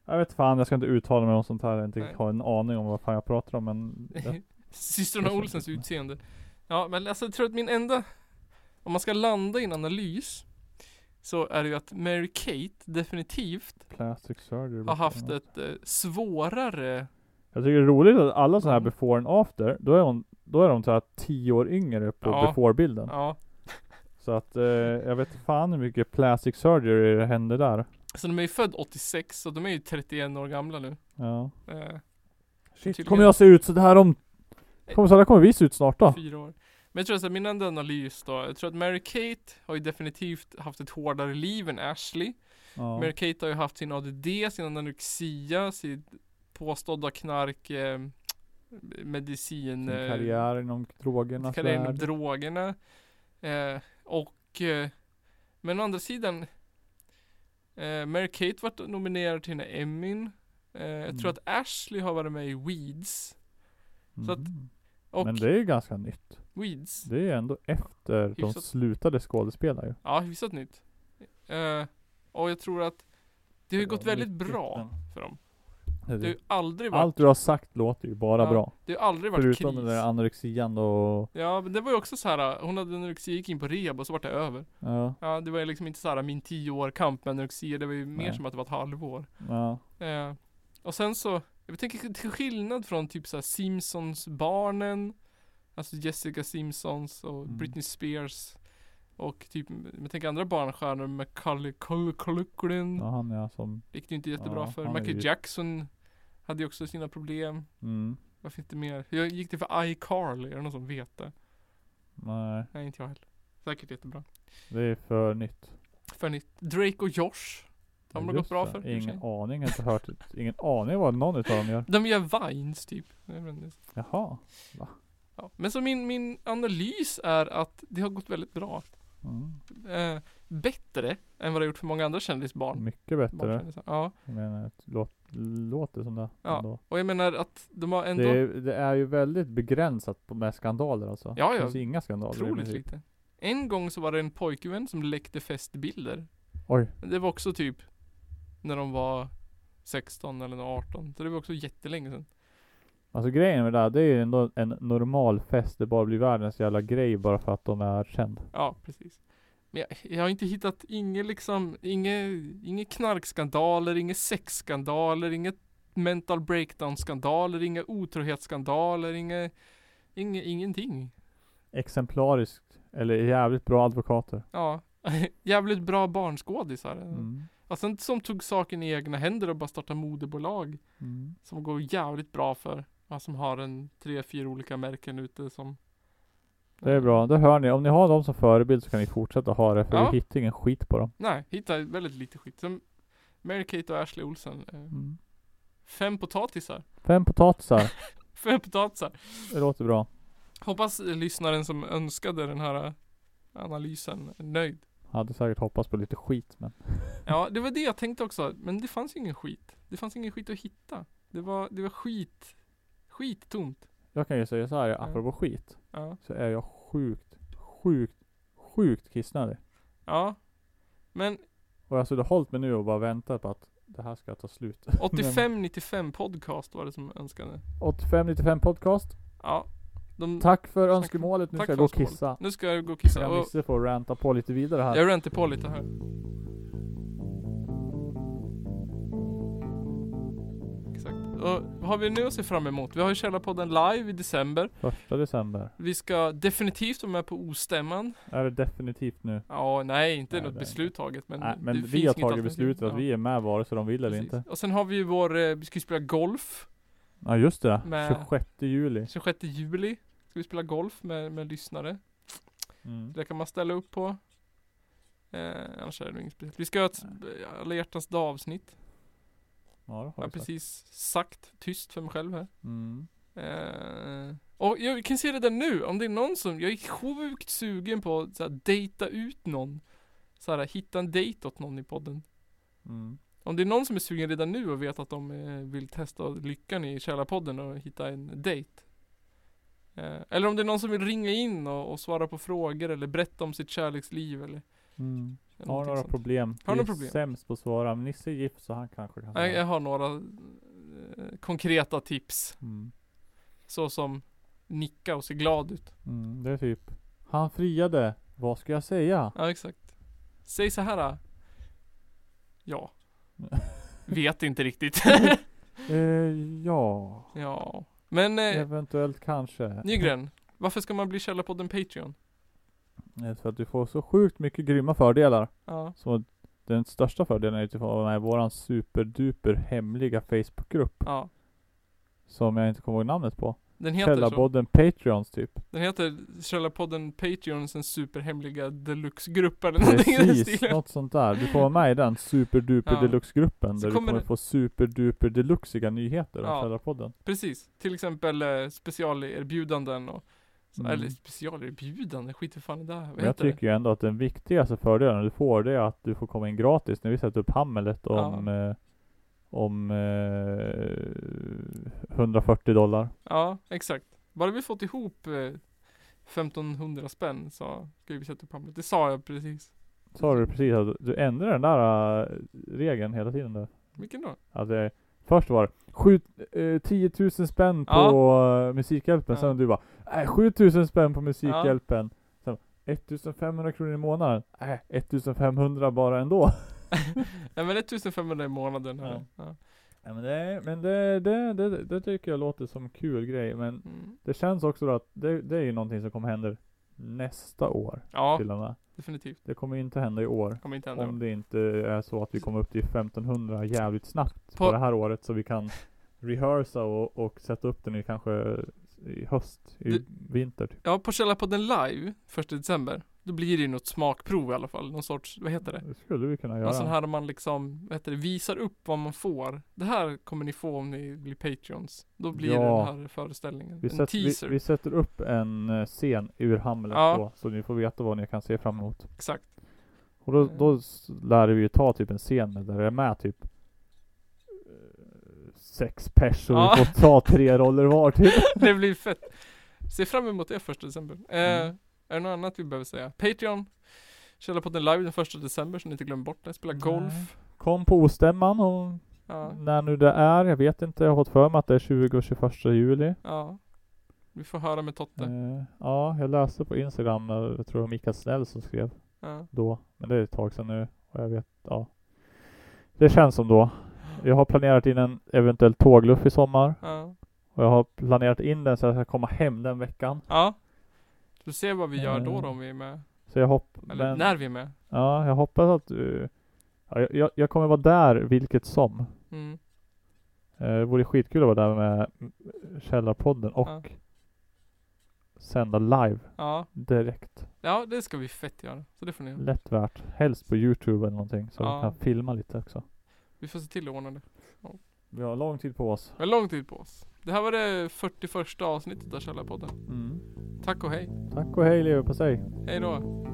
Jag vet fan, jag ska inte uttala mig om sånt här. Jag inte
Nej.
har en aning om vad fan jag pratar om men... jag-
Systrarna
Jag känner
Olsens
inte med.
utseende. Ja, men alltså jag tror att min enda, om man ska landa i en analys, så är det ju att Mary Kate definitivt
Plastic surgery.
har
brukar
haft
jag-
ett eh, svårare,
Jag tycker det är roligt att alla sådana här
Mm.
before and after, då är, hon, då är de så här 10 år yngre på
Ja.
before-bilden.
ja.
Så att eh, jag vet fan hur mycket plastic surgery det hände där.
Så alltså de är ju född 86, så de är ju 31 år gamla nu.
Ja.
Eh,
Shit,
Tydligen.
kommer jag se ut så här om... Kommer, så här kommer vi se ut snart då?
eh, fyra år. Men jag tror att min enda analys då, jag tror att Mary Kate har ju definitivt haft ett hårdare liv än Ashley.
Ja.
Mary Kate har ju haft sin ADD, sin anorexia, sin påstådda knark eh, medicin,
Sin
eh,
karriär alltså inom drogernas
karriär inom
värld.
drogerna. Eh, och, eh, men å andra sidan, eh, Mary Kate vart nominerad till den här Emmyn. Eh, Jag
Mm.
tror att Ashley har varit med i Weeds. så att-
Mm.
Och
Men det är ju ganska nytt.
Weeds.
Det är ändå efter de
Hyfsat.
slutade skådespela ju.
Ja, hyfsat nytt. Eh, och jag tror att det har ju
Det
gått
var
väldigt
riktigt
bra
den.
för dem.
Det är
Det har ju aldrig varit,
Allt du har sagt låter ju bara
Ja,
bra.
det har ju aldrig varit
Förutom
kris.
den där anorexian och...
Ja, men det var ju också så här. eh, hon hade anorexi, gick in på rehab och så vart det över.
Ja,
Ja, det var ju liksom inte så här min tio år kamp med anorexi, det var ju mer
Nej.
som att det var ett halvår.
ja.
Eh, och sen så, jag tänker till skillnad från typ såhär Simpsons-barnen, alltså Jessica Simpsons och
Mm.
Britney Spears och typ, jag tänker andra barnstjärnor, Macaulay Cul- Culkin,
ja han ja som...
gick det ju inte jättebra
Ja,
för.
han är
Michael
ju-
Jackson hade ju också sina problem.
Mm.
Vad finns det mer? Jag gick det för iCarly, är det någon som vet det?
Nej,
Nej, inte jag heller. Säkert jättebra.
det är för nytt.
För nytt, Drake och Josh, de har det gått
Just
bra
det.
för. i och för sig.
Ingen aning, jag har inte hört ett, Ingen aning vad någon utav dem gör.
De gör vines typ. Jag vet inte.
Jaha.
Ja. Men så min, min analys är att det har gått väldigt bra.
Mm.
Eh, bättre än vad det har gjort för många andra kändisbarn.
Mycket Mm, bättre.
Barnkändisar. Ja.
Jag menar, det låt- låter som det.
Ja,
ändå.
Och jag menar att de har ändå
Det, är, det är ju väldigt begränsat på- med skandaler alltså.
Ja, ja.
Det finns inga skandaler. i
otroligt
princip.
lite. En gång så var det en pojkvän som läckte festbilder.
Oj.
Men Det var också typ när de var 16 eller 18. Så det var också jättelänge sedan.
Alltså grejen med det här, det är ju ändå en normal fest. Det bara blir världens jävla grej bara för att de är känd.
Ja, precis. Men jag, jag har inte hittat inga liksom, inga, inga knarkskandaler, inga sexskandaler, inga mental breakdown-skandaler, inga otrohetsskandaler, inga, inga, ingenting.
Exemplariskt. Eller jävligt bra advokater.
Ja, jävligt bra barnskådisar.
Mm.
Alltså inte som tog saken i egna händer och bara startade moderbolag
Mm.
som går jävligt bra för, ja, som har en tre, fyra olika märken ute som
Det är bra, det hör ni. Om ni har dem som förebild så kan ni fortsätta ha det för
Ja.
vi hittar ingen skit på dem.
Nej, hittar väldigt lite skit. Som Mary-Kate och Ashley Olsen. eh, Fem potatisar.
Fem potatisar,
Fem potatisar.
det låter bra.
Hoppas lyssnaren som önskade den här eh, analysen är nöjd.
Hade säkert hoppats på lite skit men.
Ja, det var det jag tänkte också. Men det fanns ju ingen skit. Det fanns ingen skit att hitta. Det var, det var skit. Skittomt.
Jag kan ju säga så här, apropå skit.
Ja.
Så är jag sjukt, sjukt, sjukt kissnödig.
ja. Men
Och jag har suttit och hållit mig nu och bara väntat på att det här ska ta slut.
85-95 podcast var det som önskade.
85-95 podcast.
Ja. De,
Tack för
Mm. Tack-
önskemålet, nu
tack
ska jag
för
gå och
önskemålet.
kissa.
nu ska jag gå och kissa.
Jag
Och
missade får ranta på lite vidare här.
jag rantar på lite här. Exakt. Och vad har vi nu att se fram emot? Vi har ju Källarpodden live i december.
Första december.
Vi ska definitivt vara med på ostämman.
Är det definitivt nu.
Ja, nej, inte
Nej,
något
det är
beslut taget. Men,
Nej, men
det
vi
finns
har
inget
tagit
alternativ.
beslutet att
Ja,
vi är med vare sig de vill eller
precis.
inte.
Och sen har vi ju vår, eh, vi ska ju spela golf.
Ja just det,
Med-
26 juli.
26 juli ska vi spela golf med, med lyssnare.
Mm.
Det kan man ställa upp på. Eh, annars är det nog inget speciellt. Vi ska ha ett eh, alla hjärtans dag avsnitt.
Ja, det har
Jag har
vi sagt.
precis sagt tyst för mig själv här.
Mm.
Eh, och jag kan se det där nu, om det är någon som, jag är sjukt sugen på att så här, dejta ut någon. Så här, hitta en dejt åt någon i podden.
Mm.
Om det är någon som är sugen redan nu och vet att de eh, vill testa lyckan i Källarpodden och hitta en dejt. Eh, eller om det är någon som vill ringa in och, och svara på frågor eller berätta om sitt kärleksliv eller
Mm.
eller
Har
någonting
några
sånt.
problem.
Har
Vi
några
är
problem?
sämst på att svara. Men Nisse är gift så han kanske kan
Jag,
svara.
jag har några eh, konkreta tips.
Mm.
Så som nicka och se glad ut.
Mm. Det är typ. Han friade. Vad ska jag säga?
Ja, exakt. Säg så här. eh. Ja. Vet inte riktigt.
Eh, ja.
ja. Men eh,
Eventuellt kanske.
Nygren, varför ska man bli Källarpodden Patreon?
Eh, För att du får så sjukt mycket grymma fördelar.
Ja.
Så den största fördelen är ju typ att vara med i våran superduper hemliga Facebookgrupp.
Ja.
Som jag inte kommer ihåg namnet på.
Den heter så.
Källarpodden Patreons typ.
Den heter Källarpodden Patreons den superhemliga deluxe-gruppen. eller någonting i den
Precis,
stilen.
något sånt där. Du får vara med i den superduper
Ja.
deluxe-gruppen
Så
där du
kommer
kommer
det-
få superduper deluxiga nyheter om
Ja.
Källarpodden.
Precis, till exempel eh, specialerbjudanden och så,
Mm.
Eller specialerbjudanden, skit i fan det där. Vad
Men jag
heter det?
tycker ju ändå att den viktigaste fördelen du får det är att du får komma in gratis när vi sätter upp Hamlet om, eh, om eh, 140 dollar.
Ja, exakt. Bara vi fått ihop eh, 1500 spänn så ska vi sätta upp Hamlet. Det sa jag precis.
Sa du precis att du ändrar den där eh, regeln hela tiden där?
Vilken då?
Att det, först var det sju, eh, 10 000 spänn på eh, Musikhjälpen,
Ja.
sen du bara nej 7 000 spänn på Musikhjälpen. Sen 1500 kronor i månaden? Nej, 1500 bara ändå.
Nej men 1500 i månaden. här. Ja.
Nej, men det, men det, det, det, det tycker jag låter som kul grej, men
Mm.
det känns också då att det, det är ju någonting som kommer hända nästa år
ja,
till och med.
definitivt.
Det kommer ju inte hända i år.
Kommer inte hända.
Om det inte är så att vi kommer upp till 1500 jävligt snabbt på,
På-
det här året så vi kan rehearsa och, och sätta upp den i kanske i höst, i
Du-
vinter typ.
Ja, på Källarpodden live, 1 december. Då blir det ju något smakprov i alla fall. Någon sorts, vad heter det?
Det skulle vi kunna göra.
Någon sån här där man liksom, vad heter det, visar upp vad man får. Det här kommer ni få om ni blir Patreons. Då blir
Ja.
det den här föreställningen.
vi,
en
sätter, vi,
teaser.
vi sätter upp en eh, scen ur Hamlet
Ja.
då, så ni får veta vad ni kan se fram emot.
Exakt.
Och då, då s- lär vi ju ta typ en scen med där det är med typ eh, sex personer
Ja.
och vi får ta tre roller var typ.
det blir fett. Se fram emot det första december. Eh,
Mm.
Är det något annat vi behöver säga? Patreon. Källarpodden live den första december så ni inte glömmer bort det. Spela
Nej. Mm.
golf.
Kom på ostämman och
Ja,
När nu det är, jag vet inte. Jag har fått för mig att det är 20 och 21 juli.
ja. Vi får höra med Totte.
Eh, ja, jag läste på Instagram, eh, jag tror det var Mikael Snäll som skrev
Ja.
då. Men det är ett tag sedan nu och jag vet, ja. Det känns som då. Jag har planerat in en eventuell tågluff i sommar
Ja.
och jag har planerat in den så jag ska komma hem den veckan.
ja. Vi får se vad vi gör då,
Eh,
då om vi är med.
Så jag hoppas...
Eller när vi är med.
Ja, jag hoppas att du... Ja, jag- jag, jag kommer vara där vilket som.
Mm.
Eh, Det vore skitkul att vara där med mm, Källarpodden och
Ja.
sända live
Ja.
direkt.
ja, det ska vi fett göra. Så det får ni göra.
Lätt värt. Helst på Youtube eller någonting så
Ja.
vi kan filma lite också.
Vi får se till att ordna det.
Vi har lång tid på oss.
Vi har lång tid på oss. Det här var det 41 avsnittet av Källarpodden. Tack och hej.
Tack och Mm. hej leverpastej!
Hej då.